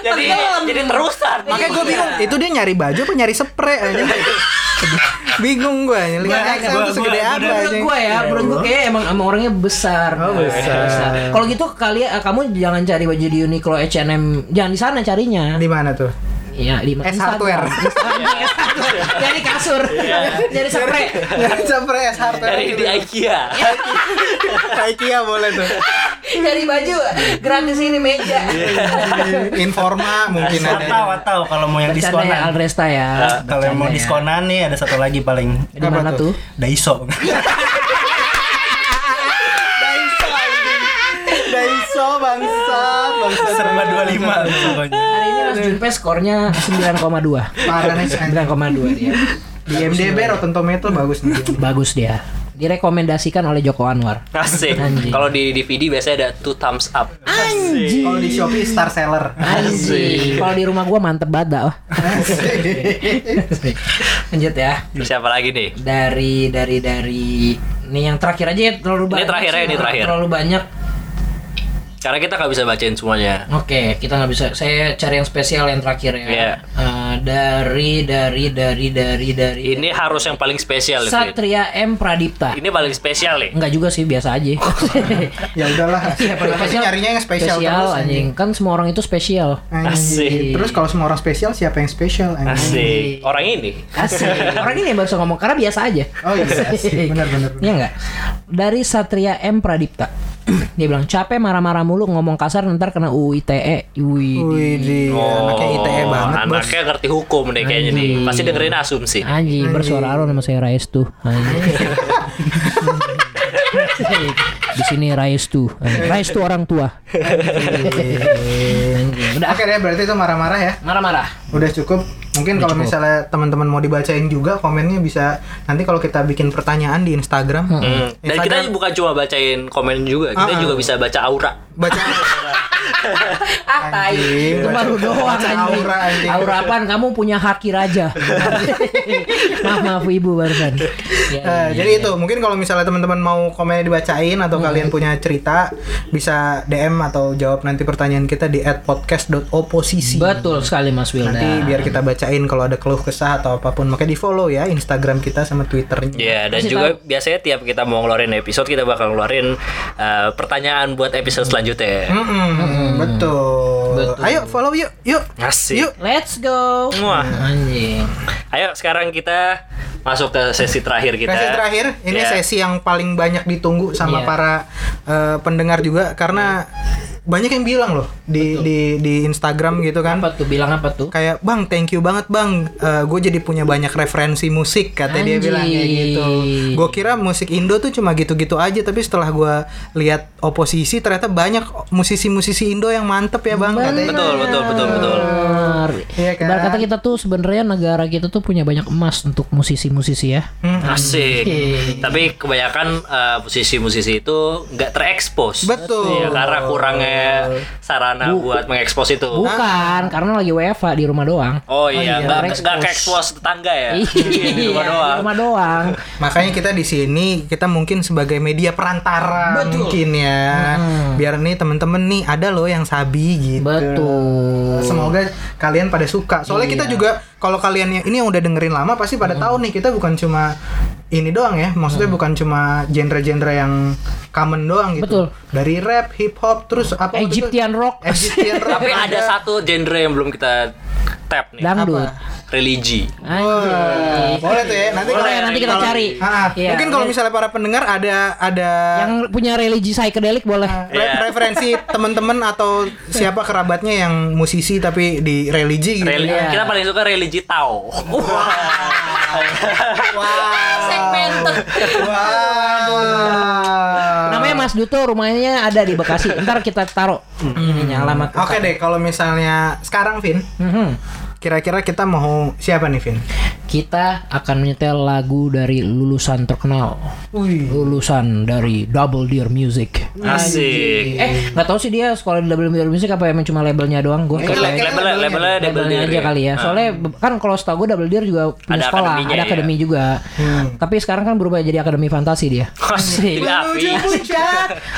C: jadi jadi terusan.
D: Makanya gue bingung, itu dia nyari baju apa nyari spray aja? bingung gue, lihat XL
F: gua-
D: tuh segede
F: gua-
D: apa
F: gua-
D: aja?
E: menurut gue ya, menurut gue kayak emang emang orangnya besar.
D: Oh, besar.
E: Kalau gitu kali eh, kamu jangan cari baju di Uniqlo H&M, jangan di sana carinya.
D: Di mana tuh?
E: Iya, di
D: S
E: Instagram.
D: hardware.
E: Instagram. Jadi kasur.
C: Iya.
E: Jadi spray.
D: Nyari spray S hardware.
C: Dari di
E: Iya.
C: IKEA.
D: IKEA boleh tuh.
E: Jadi baju gratis ini meja.
C: Iya,
D: Informa
E: Iya,
D: mungkin
F: Atau
D: ada.
F: atau kalau mau yang
E: Bercanda ya
F: diskonan.
E: Alresta ya.
C: Ah,
F: Kalau yang
E: Bercanda
F: mau
E: ya.
F: diskonan nih ada satu lagi paling
E: Di mana
D: Apa tuh?
E: tuh?
F: Daiso.
D: Daiso, anjing. Daiso bangsa, bangsa
F: Serba 25 tuh pokoknya.
E: Hari ini Mas Junpe skornya 9,2.
D: Parah nih, anjing.
E: 9,2 dia.
D: Di MDB Rotten Tomato bagus nih.
E: Bagus dia. Direkomendasikan oleh Joko Anwar.
C: Asik.
E: Anjing.
C: Kalau di DVD biasanya ada two thumbs up.
D: Kalau di Shopee Star Seller.
E: Anjing. Kalau di rumah gua mantep banget dah. wah. Lanjut ya.
C: Siapa lagi nih?
E: Dari dari dari ini yang terakhir aja ya, terlalu banyak.
C: terakhir
E: sih,
C: ya, ini terakhir.
E: Terlalu banyak.
C: Karena kita nggak bisa bacain semuanya.
E: Oke, kita nggak bisa. Saya cari yang spesial yang terakhir ya.
C: Iya.
E: Eh, dari dari dari dari dari
C: Ini harus yang paling
D: Iya,
C: spesial nih, Fit.
E: Satria M Pradipta.
C: Ini paling spesial nih.
E: Enggak juga sih, biasa aja.
D: ya udahlah.
E: Iya, padahal
D: Pasti nyarinya yang spesial, terus
E: anjing. Kan semua orang itu spesial.
C: Asik.
D: Anjing. Terus kalau semua orang spesial siapa yang spesial anjing?
C: Asik. Orang ini.
E: Asik. Orang ini yang baru bisa ngomong karena biasa aja.
D: Oh iya, asik. Benar, benar, benar.
E: Iya enggak? Dari Satria M Pradipta. Dia bilang capek marah-marah mulu ngomong kasar ntar kena UU ITE. E." Wih.
D: Wih, di Iya, anaknya ITE banget, Bos.
C: Oh,
D: Hmm.
C: Anaknya ngerti hukum nih kayaknya nih. Pasti dengerin asumsi.
E: Anjing bersuara lu nama saya Rais tuh. Anjing. Di sini Rais tuh. Anjing. Rais tuh orang tua. Anjing. Udah
D: Oke deh, berarti itu marah-marah ya.
E: marah-marah.
D: Udah cukup. Mungkin kalau misalnya teman-teman mau dibacain juga komennya bisa nanti kalau kita bikin pertanyaan di Instagram.
C: Hmm. Dan kita
D: Instagram
C: bukan cuma bacain komen juga, kita
D: Ah, ah.
C: juga bisa baca aura.
D: baca
E: Ah, tai.
D: Anjing.
E: Itu baru doang
D: Baca
E: anjing.
D: aura, anjing.
E: Aura apaan? Kamu punya haki raja. maaf, maaf Ibu barusan. Ya,
D: Eh, jadi itu mungkin kalau misalnya teman-teman mau komennya dibacain
E: Hmm.
D: atau kalian punya cerita bisa DM atau jawab nanti pertanyaan kita di @podcast.oposisi.
E: Betul Nah. sekali Mas Wilda.
D: Nanti biar kita bacain kalau ada keluh kesah atau apapun makanya di follow ya Instagram kita sama Twitternya.
C: Ya, dan
E: Kasih
C: juga biasanya tiap kita mau ngeluarin episode, kita bakal ngeluarin eh, pertanyaan buat episode selanjutnya.
D: Mm-mm, Hmm,
E: Hmm.
D: betul. Ayo follow yuk yuk.
C: Asik.
D: Yuk. Hmm.
E: Let's go.
C: Wah.
E: Anjing.
C: Ayo sekarang kita masuk ke sesi terakhir kita.
D: Sesi terakhir, ini
C: Ya.
D: sesi yang paling banyak ditunggu sama
E: Iya.
D: para eh, pendengar juga karena banyak yang bilang loh di di di Instagram gitu kan
E: Apa tuh bilang apa tuh?
D: kayak bang thank you banget bang gue jadi punya banyak referensi musik kata dia
E: Anjing.
D: bilang kayak gitu gue kira musik Indo tuh cuma gitu-gitu aja tapi setelah gue lihat oposisi ternyata banyak musisi-musisi Indo yang mantep ya bang kata dia.
C: Betul, betul, betul, betul.
E: Benar.
D: Iya kan?
E: Ibarat kata kita tuh sebenarnya negara kita tuh punya banyak emas untuk musisi-musisi ya.
D: Hmm.
C: Asik.
E: Oke.
C: Tapi kebanyakan eh, musisi-musisi itu nggak terekspos.
D: Betul.
C: Iya, karena kurangnya sarana buat mengekspos itu.
E: Bukan,
D: Ah.
E: karena lagi WFA di rumah doang.
C: Oh iya, nggak
E: terekspos.
C: nggak ke expose tetangga ya.
E: Iya,
C: di rumah doang.
E: Di rumah doang.
D: makanya kita di sini kita mungkin sebagai media perantara mungkin ya biar nih temen-temen nih ada loh yang sabi gitu
E: Betul.
D: Semoga kalian pada suka. Soalnya kita juga kalau kalian yang ini yang udah dengerin lama pasti pada tahu nih kita bukan cuma ini doang ya. Maksudnya bukan cuma genre-genre yang common doang gitu.
E: Betul.
D: Dari rap, hip hop, terus apa waktu itu?
E: Egyptian rock.
D: Egyptian rap.
C: Tapi ada satu genre yang belum kita tap nih.
E: Dangdut.
C: Religi.
E: Anjing.
D: Boleh tuh ya. Nanti
E: Boleh,
D: kalau-
E: nanti kita
D: kalau-
E: cari.
D: Ah,
E: Iya.
D: Mungkin kalau misalnya para pendengar ada ada
E: yang punya religi psychedelic boleh.
D: re-
C: Iya.
D: referensi teman-teman atau siapa kerabatnya yang musisi tapi di religi gitu.
C: Reli-
E: Iya.
C: Kita paling suka religi Tao.
D: Wow.
E: Namanya Mas Duto, rumahnya ada di Bekasi. Ntar kita taruh
C: Hmm.
E: ininya alamat.
D: Oke deh, kalau misalnya sekarang Vin,
E: Mhm.
D: kira-kira kita mau siapa nih Vin?
E: Kita akan menyetel lagu dari lulusan terkenal. Lulusan dari Double Deer Music.
C: Asik.
E: Eh, nggak tahu sih dia sekolah di Double Deer Music apa emang cuma labelnya doang. Gue
C: Label- Labelnya labelnya double
E: labelnya
C: deer
E: aja kali ya. Soalnya be- kan kalau setahu gue Double Deer juga punya
C: Ada
E: sekolah,
C: akademinya
E: ada
C: ya.
E: akademi juga. Tapi sekarang kan berubah jadi akademi fantasi dia.
C: Asik. Api.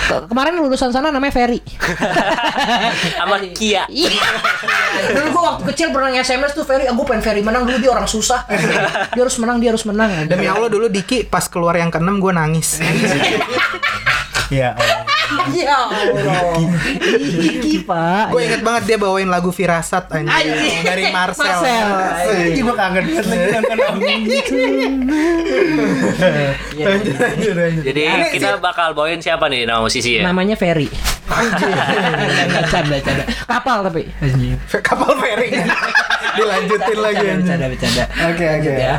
E: Ke- Kemarin lulusan sana namanya Ferry.
C: Sama Kia.
E: Iya. Dulu gue waktu kecil pernah SMS tuh Ferry, aku pengen Ferry menang dulu dia orang susah. Dia harus menang, dia harus menang.
D: Demi Allah dulu Diki pas keluar yang keenam gue Iya. nangis.
F: Iya.
E: Ya Allah. Iki pak.
D: gue inget banget dia bawain lagu Firasat anjing dari Marcel. Iya,
E: Marcel.
F: Ini gue kangen banget lagi nonton Amin.
D: Lanjut, lanjut, lanjut.
C: Jadi
E: Iya,
C: kita bakal bawain siapa nih nama musisi ya?
E: Namanya Ferry. Canda, canda. Kapal tapi.
D: Fe- Kapal feri. Dilanjutin lagi anjing.
E: Bercanda, bercanda.
D: Oke, oke.
E: Ya.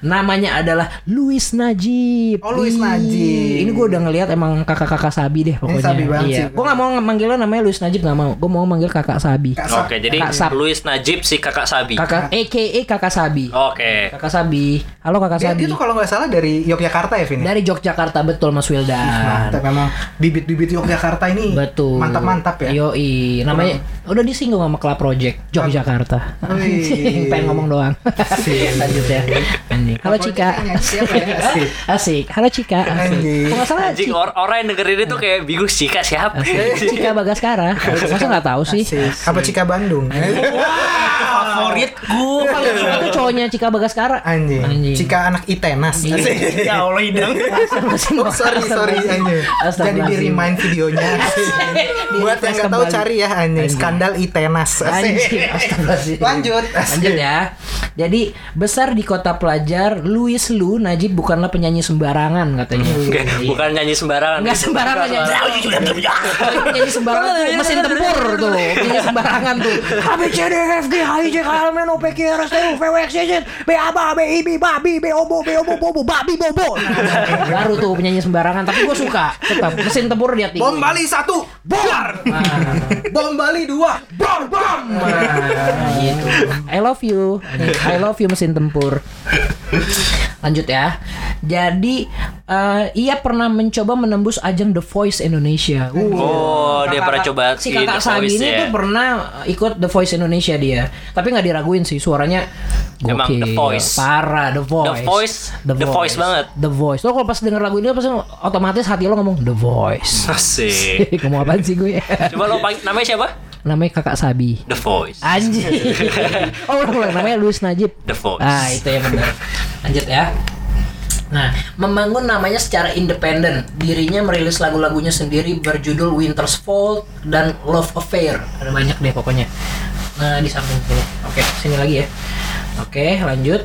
E: Namanya adalah Luis Najib.
D: Oh, Luis
E: Ih,
D: Najib.
E: Ini gue udah ngelihat emang kakak-kakak Sabi deh pokoknya.
D: Sabi banget
E: iya.
D: sih.
E: Gue nggak mau manggil lo namanya Luis Najib nggak mau. Gue mau manggil kakak Sabi.
C: Oke, jadi
E: Kak Sab.
C: Luis Najib si Kakak Sabi.
E: Kakak, EKE kakak Sabi.
C: Oke.
E: Kakak Sabi. Halo kakak
D: Dia,
E: Sabi.
D: dia tuh kalau nggak salah dari Yogyakarta ya Vin? ya?
E: Dari Yogyakarta betul Mas
D: Mantap
E: Wildan.
D: memang bibit-bibit Yogyakarta ini
E: Betul.
D: mantap-mantap ya.
E: Yoi, namanya udah disinggung sama Club Project Yogyakarta.
D: Wih.
E: Pengen ngomong doang.
D: Asik.
E: Lanjut ya. Anjing. Halo Cika.
D: Project-nya siapa ya? Asik.
E: Asik. Halo Cika.
D: Anjing.
E: Asik. Kok nggak salah
C: Anjing oh.
E: Cika.
C: or- orang yang dengerin itu kayak bingung sih Kak siapa.
E: Cika Bagaskara. Masa nggak tahu sih?
D: Apa Cika Bandung?
F: Favorit
E: Gue paling suka tuh cowoknya Cika Bagaskara.
D: Anjing.
E: Anjing.
D: Cika anak ITENAS. Asik.
F: ya Allah hidang.
D: Oh, sorry, sorry anjing. Jadi di remind videonya. Buat yang nggak tahu
E: Kembali.
D: cari ya anjing. Skandal ITENAS. Asik.
E: Anjing, astagfirullahaladzim.
D: Lanjut.
E: Lanjut ya. Jadi besar di kota pelajar, Louis Lu Najib bukanlah penyanyi sembarangan katanya.
C: Oke, Bukan nyanyi sembarangan.
E: Enggak sembarangan ya. Penyanyi sembarangan tuh mesin tempur tuh. Penyanyi sembarangan tuh. A B C D E F G H I J K L M N O P Q R S T U V W X Y Z B A B A B I B B B B O B B O B B B B B B Baru tuh penyanyi sembarangan tapi gue suka. Tetap mesin tempur dia tinggi.
D: Bom Bali satu. Bor. Bom Bali dua. Bor bom.
E: gitu. I love you. I love you mesin tempur. Lanjut ya. Jadi eh, ia pernah mencoba menembus ajang The Voice Indonesia. Uh.
C: Oh, dia pernah coba
E: si kakak Sabi
C: ya. iya.
E: ini tuh pernah ikut The Voice Indonesia dia, tapi nggak diraguin sih suaranya.
C: Emang
E: gokil.
C: The Voice.
E: Parah The Voice.
C: The Voice, The Voice banget.
E: The Voice. Lo kalau pas denger lagu ini pasti otomatis hati lo ngomong The Voice.
C: Asik.
E: ngomong apaan sih gue?
C: Coba lo panggil namanya siapa?
E: Namanya kakak Sabi.
C: The Voice.
E: Anjir. oh, ulang ulang namanya Luis Najib.
C: The Voice.
E: Ah, itu yang benar. Lanjut ya. Nah, membangun namanya secara independen. Dirinya merilis lagu-lagunya sendiri berjudul Winter's Fall dan Love Affair. Ada banyak deh pokoknya. Nah, di samping sini. Oke, sini lagi ya. Oke, lanjut.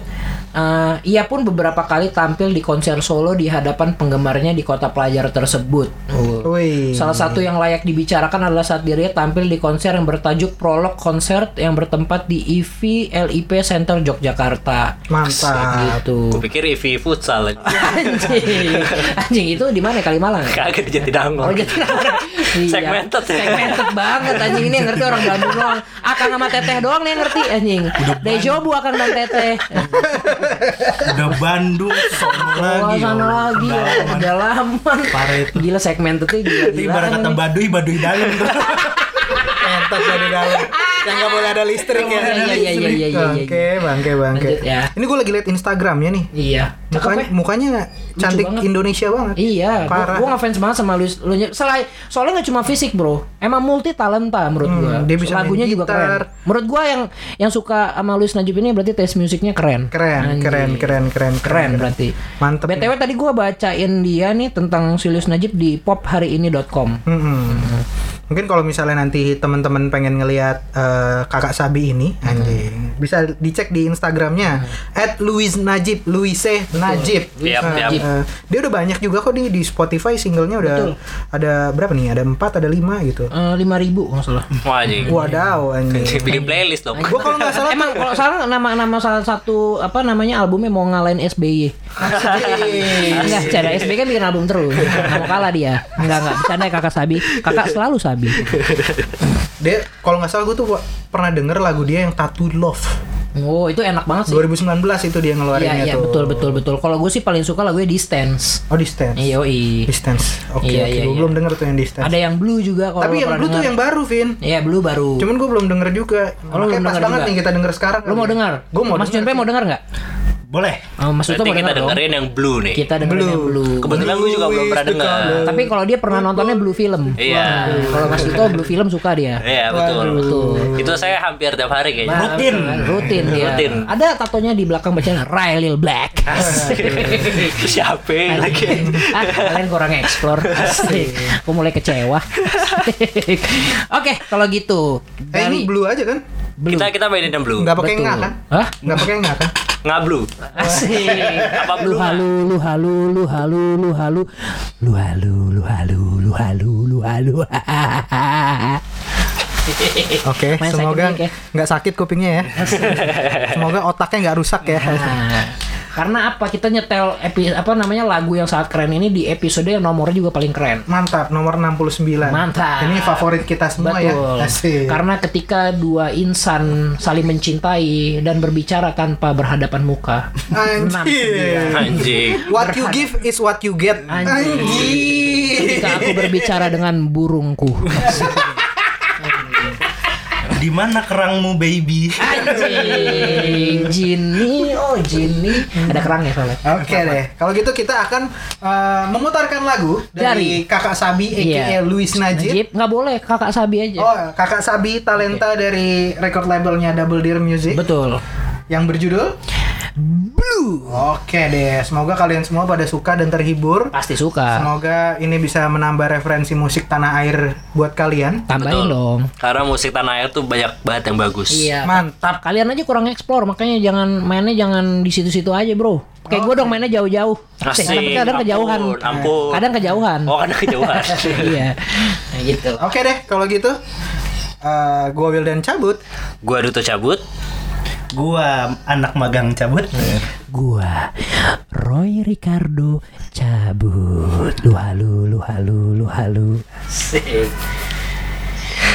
E: Eh, ia pun beberapa kali tampil di konser solo di hadapan penggemarnya di kota pelajar tersebut.
D: Wih.
E: Salah satu yang layak dibicarakan adalah saat dirinya tampil di konser yang bertajuk Prolog Konser yang bertempat di IV LIP Center Yogyakarta.
D: Mantap.
E: Gitu.
C: Gue pikir EV futsal lagi.
E: Iya. Anjing. Anjing itu di mana ya? Kalimalang? ya?
C: Kagak dijadi dango.
E: Oh jadi Iya.
C: Segmented ya.
E: Segmented banget anjing ini yang ngerti orang Bandung doang. Akang sama Teteh doang nih yang ngerti anjing. Dejobu Akang dan Teteh.
F: Udah Bandung sono
E: Oh,
F: lagi.
E: sana
F: orang.
E: lagi ya.
F: Kedalaman.
E: Udah lama.
F: Parah itu.
E: Gila segmentednya gila.
F: Itu ibarat kata
E: Iya,
F: Baduy, Baduy dalam tuh.
D: Entot dari dalam. Yang nggak boleh ada listrik ya.
E: Iya, iya, iya, iya, iya, iya.
D: Bangke, bangke, bangke.
E: Lanjut ya.
D: Ini gue lagi liat Instagramnya nih.
E: Iya. Cakep
D: Mukanya,
E: ya?
D: mukanya cantik
E: banget.
D: Indonesia banget.
E: Iya,
D: Parah.
E: gua, gua ngefans banget sama lu. lu Selain soalnya nggak cuma fisik, Bro. Emang multi talenta menurut
D: Hmm,
E: gua.
D: dia bisa main
E: Lagunya juga
D: gitar.
E: keren. Menurut gua yang yang suka sama Luis Najib ini berarti taste musiknya keren.
D: Keren,
E: Anjing.
D: keren, keren, keren,
E: Keren berarti.
D: Mantep.
E: BTW tadi gua bacain dia nih tentang si Luis Najib di pophariini.com.
D: Hmm. Mm-mm. Mungkin kalau misalnya nanti teman-teman pengen ngelihat eh, kakak Sabi ini, anjing, bisa dicek di Instagramnya @luisnajib, Luise Najib.
C: Yap,
D: Nah,
C: yap.
D: eh, dia udah banyak juga kok di di Spotify singlenya udah ada berapa nih? Ada empat, ada lima gitu.
E: Eh, lima ribu nggak salah.
C: Wah anjing.
D: Wadaw, anjing.
C: Bikin playlist dong.
D: Gua kalau nggak salah
E: Emang kalau salah nama-nama salah satu apa namanya albumnya mau ngalahin SBY. Enggak, cara SBY kan bikin album terus. Nggak mau kalah dia. Enggak enggak, bercanda ya kakak Sabi. Kakak selalu Sabi.
D: dia kalau nggak salah gue tuh pernah denger lagu dia yang Tattoo Love.
E: Oh, itu enak banget sih.
D: 2019 itu dia
E: Iya,
D: ngeluarinnya
E: iya,
D: tuh.
E: betul betul betul. Kalau gue sih paling suka lagunya Distance.
D: Oh, Distance.
E: Iya, yoi.
D: Distance. Oke,
E: Iya,
D: oke.
E: iya,
D: Gua
E: iya.
D: belum denger tuh yang Distance.
E: Ada yang Blue juga kalau
D: Tapi
E: lo
D: yang
E: Oh, pernah
D: lu tuh
E: denger.
D: yang baru, Vin.
E: Iya, Blue baru.
D: Cuman gue belum denger juga.
E: Oh, lu
D: Makanya
E: belum
D: pas
E: denger
D: banget
E: juga.
D: nih kita denger sekarang.
E: Lu mau dengar?
D: Gue mau
E: Mas
D: denger.
E: Junpei mau dengar nggak?
F: Boleh.
E: Oh, Mas Junpei mau
C: Berarti kita
E: dengar dong.
C: dengerin yang blue nih.
E: Kita dengerin
D: Blue.
E: yang Blue.
C: Kebetulan gue juga belum pernah
D: Blue is the
C: dengar.
D: color.
E: Tapi kalau dia pernah nontonnya Blue Film.
C: Iya.
E: Nah, Kalau Mas Dito Blue Film suka dia.
C: Iya betul. Itu saya hampir tiap hari kayaknya.
F: Rutin.
E: Rutin dia.
C: Rutin.
E: Ada tatonya di belakang bacaan Riley Black.
C: Itu Siapa yang iya. lagi?
E: ah, kalian kurang explore. Asik. Aku mulai kecewa. Asik. Oke, kalau gitu
D: Eh, ini
E: dari
D: blue aja kan?
E: Blue.
C: Kita kita mainin yang blue.
D: Nggak pakai
E: Betul.
D: ngak kan?
E: Hah?
D: Nggak pakai ngak kan?
C: Nggak blue.
E: Asik.
C: Apa
E: Lu
C: blue?
E: halu, lu halu, lu halu, lu halu, lu halu, lu halu, lu halu, lu halu.
D: Oke,
E: Eh, Main
D: semoga
E: psychedelic ya.
D: nggak sakit kupingnya ya. semoga otaknya nggak rusak ya.
E: Nah, karena apa kita nyetel epi, apa namanya lagu yang sangat keren ini di episode yang nomornya juga paling keren.
D: Mantap, nomor 69.
E: Mantap.
D: Ini favorit kita semua ya.
E: Betul.
D: Asik.
E: Karena ketika dua insan saling mencintai dan berbicara tanpa berhadapan muka.
D: Anjir.
C: Anjing.
D: What you give is what you get.
E: Anjir.
D: Anjir.
E: Ketika aku berbicara dengan burungku.
F: Di mana kerangmu baby?
E: Anjing, Jini, oh Jini. Ada kerang ya soalnya.
D: Oke deh, kalau gitu kita akan eh, memutarkan lagu dari, kakak Sabi aka
E: Iya.
D: Luis Najib.
E: Najib nggak boleh kakak Sabi aja.
D: Oh, kakak Sabi talenta dari record labelnya Double Deer Music
E: Betul.
D: yang berjudul Blue. Oke deh, semoga kalian semua pada suka dan terhibur.
E: Pasti suka.
D: Semoga ini bisa menambah referensi musik tanah air buat kalian.
E: Tambahin dong.
C: Karena musik tanah air tuh banyak banget yang bagus.
E: Iya.
D: Mantap.
E: Kalian aja kurang eksplor, makanya jangan mainnya jangan di situ-situ aja, Bro. Kayak gue dong mainnya jauh-jauh.
C: Asik.
E: Tapi kadang
C: Ampun,
E: kejauhan.
C: ampun.
E: Kadang kejauhan.
C: Oh karena kejauhan.
E: iya. Nah, gitu.
D: Oke deh, kalau gitu eh, gua Will dan cabut.
C: Gua Duto cabut.
F: Gua anak magang cabut.
E: Gua Roy Ricardo cabut. Lu halu, lu halu, lu halu.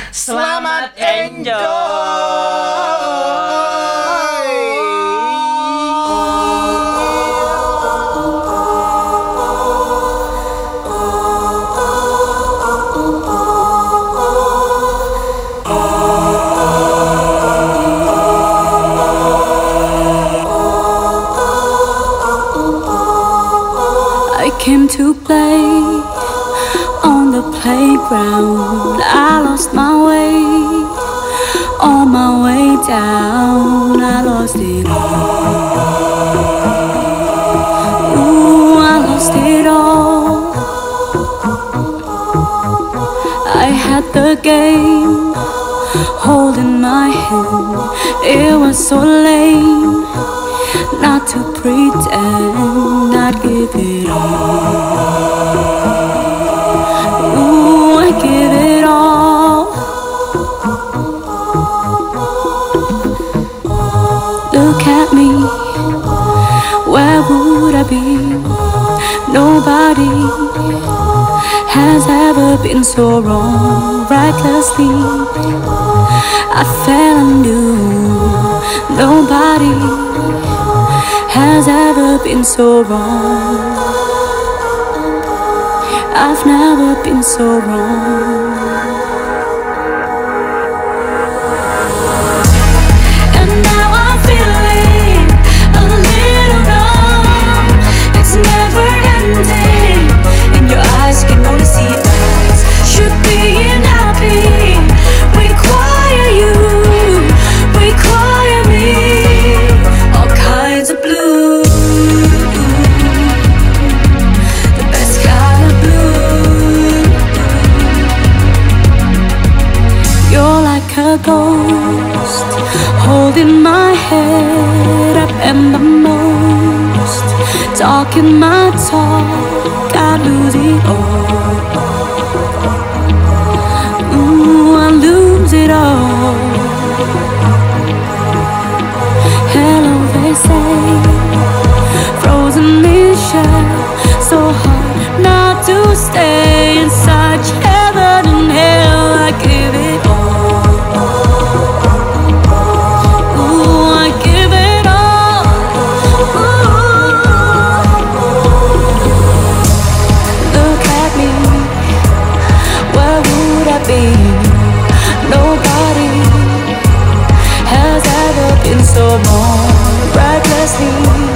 E: Selamat
I: I came to play on the playground. I lost my way on my way down. I lost it all. Ooh, I lost it all. I had the game holding my hand. It was so lame. not to pretend, not give it all. Ooh, I give it all. Look at me, where would I be? Nobody has ever been so wrong, recklessly. I fell undue. Nobody has ever been so wrong. I've never been so wrong. And now I'm feeling a little numb. It's never ending. In your eyes, can only see us. Should be happy. Require you, require me. All kinds of blue. The best kind of blue. You're like a ghost holding my head up and the most talking my talk. I lose it all. Ooh, I lose it all. Hello, they say frozen in shell. So hard not to stay in such heaven and hell. I give it all. Ooh, I give it all. Ooh. Look at me. Where would I be? Nobody has ever been so wrong. Recklessly.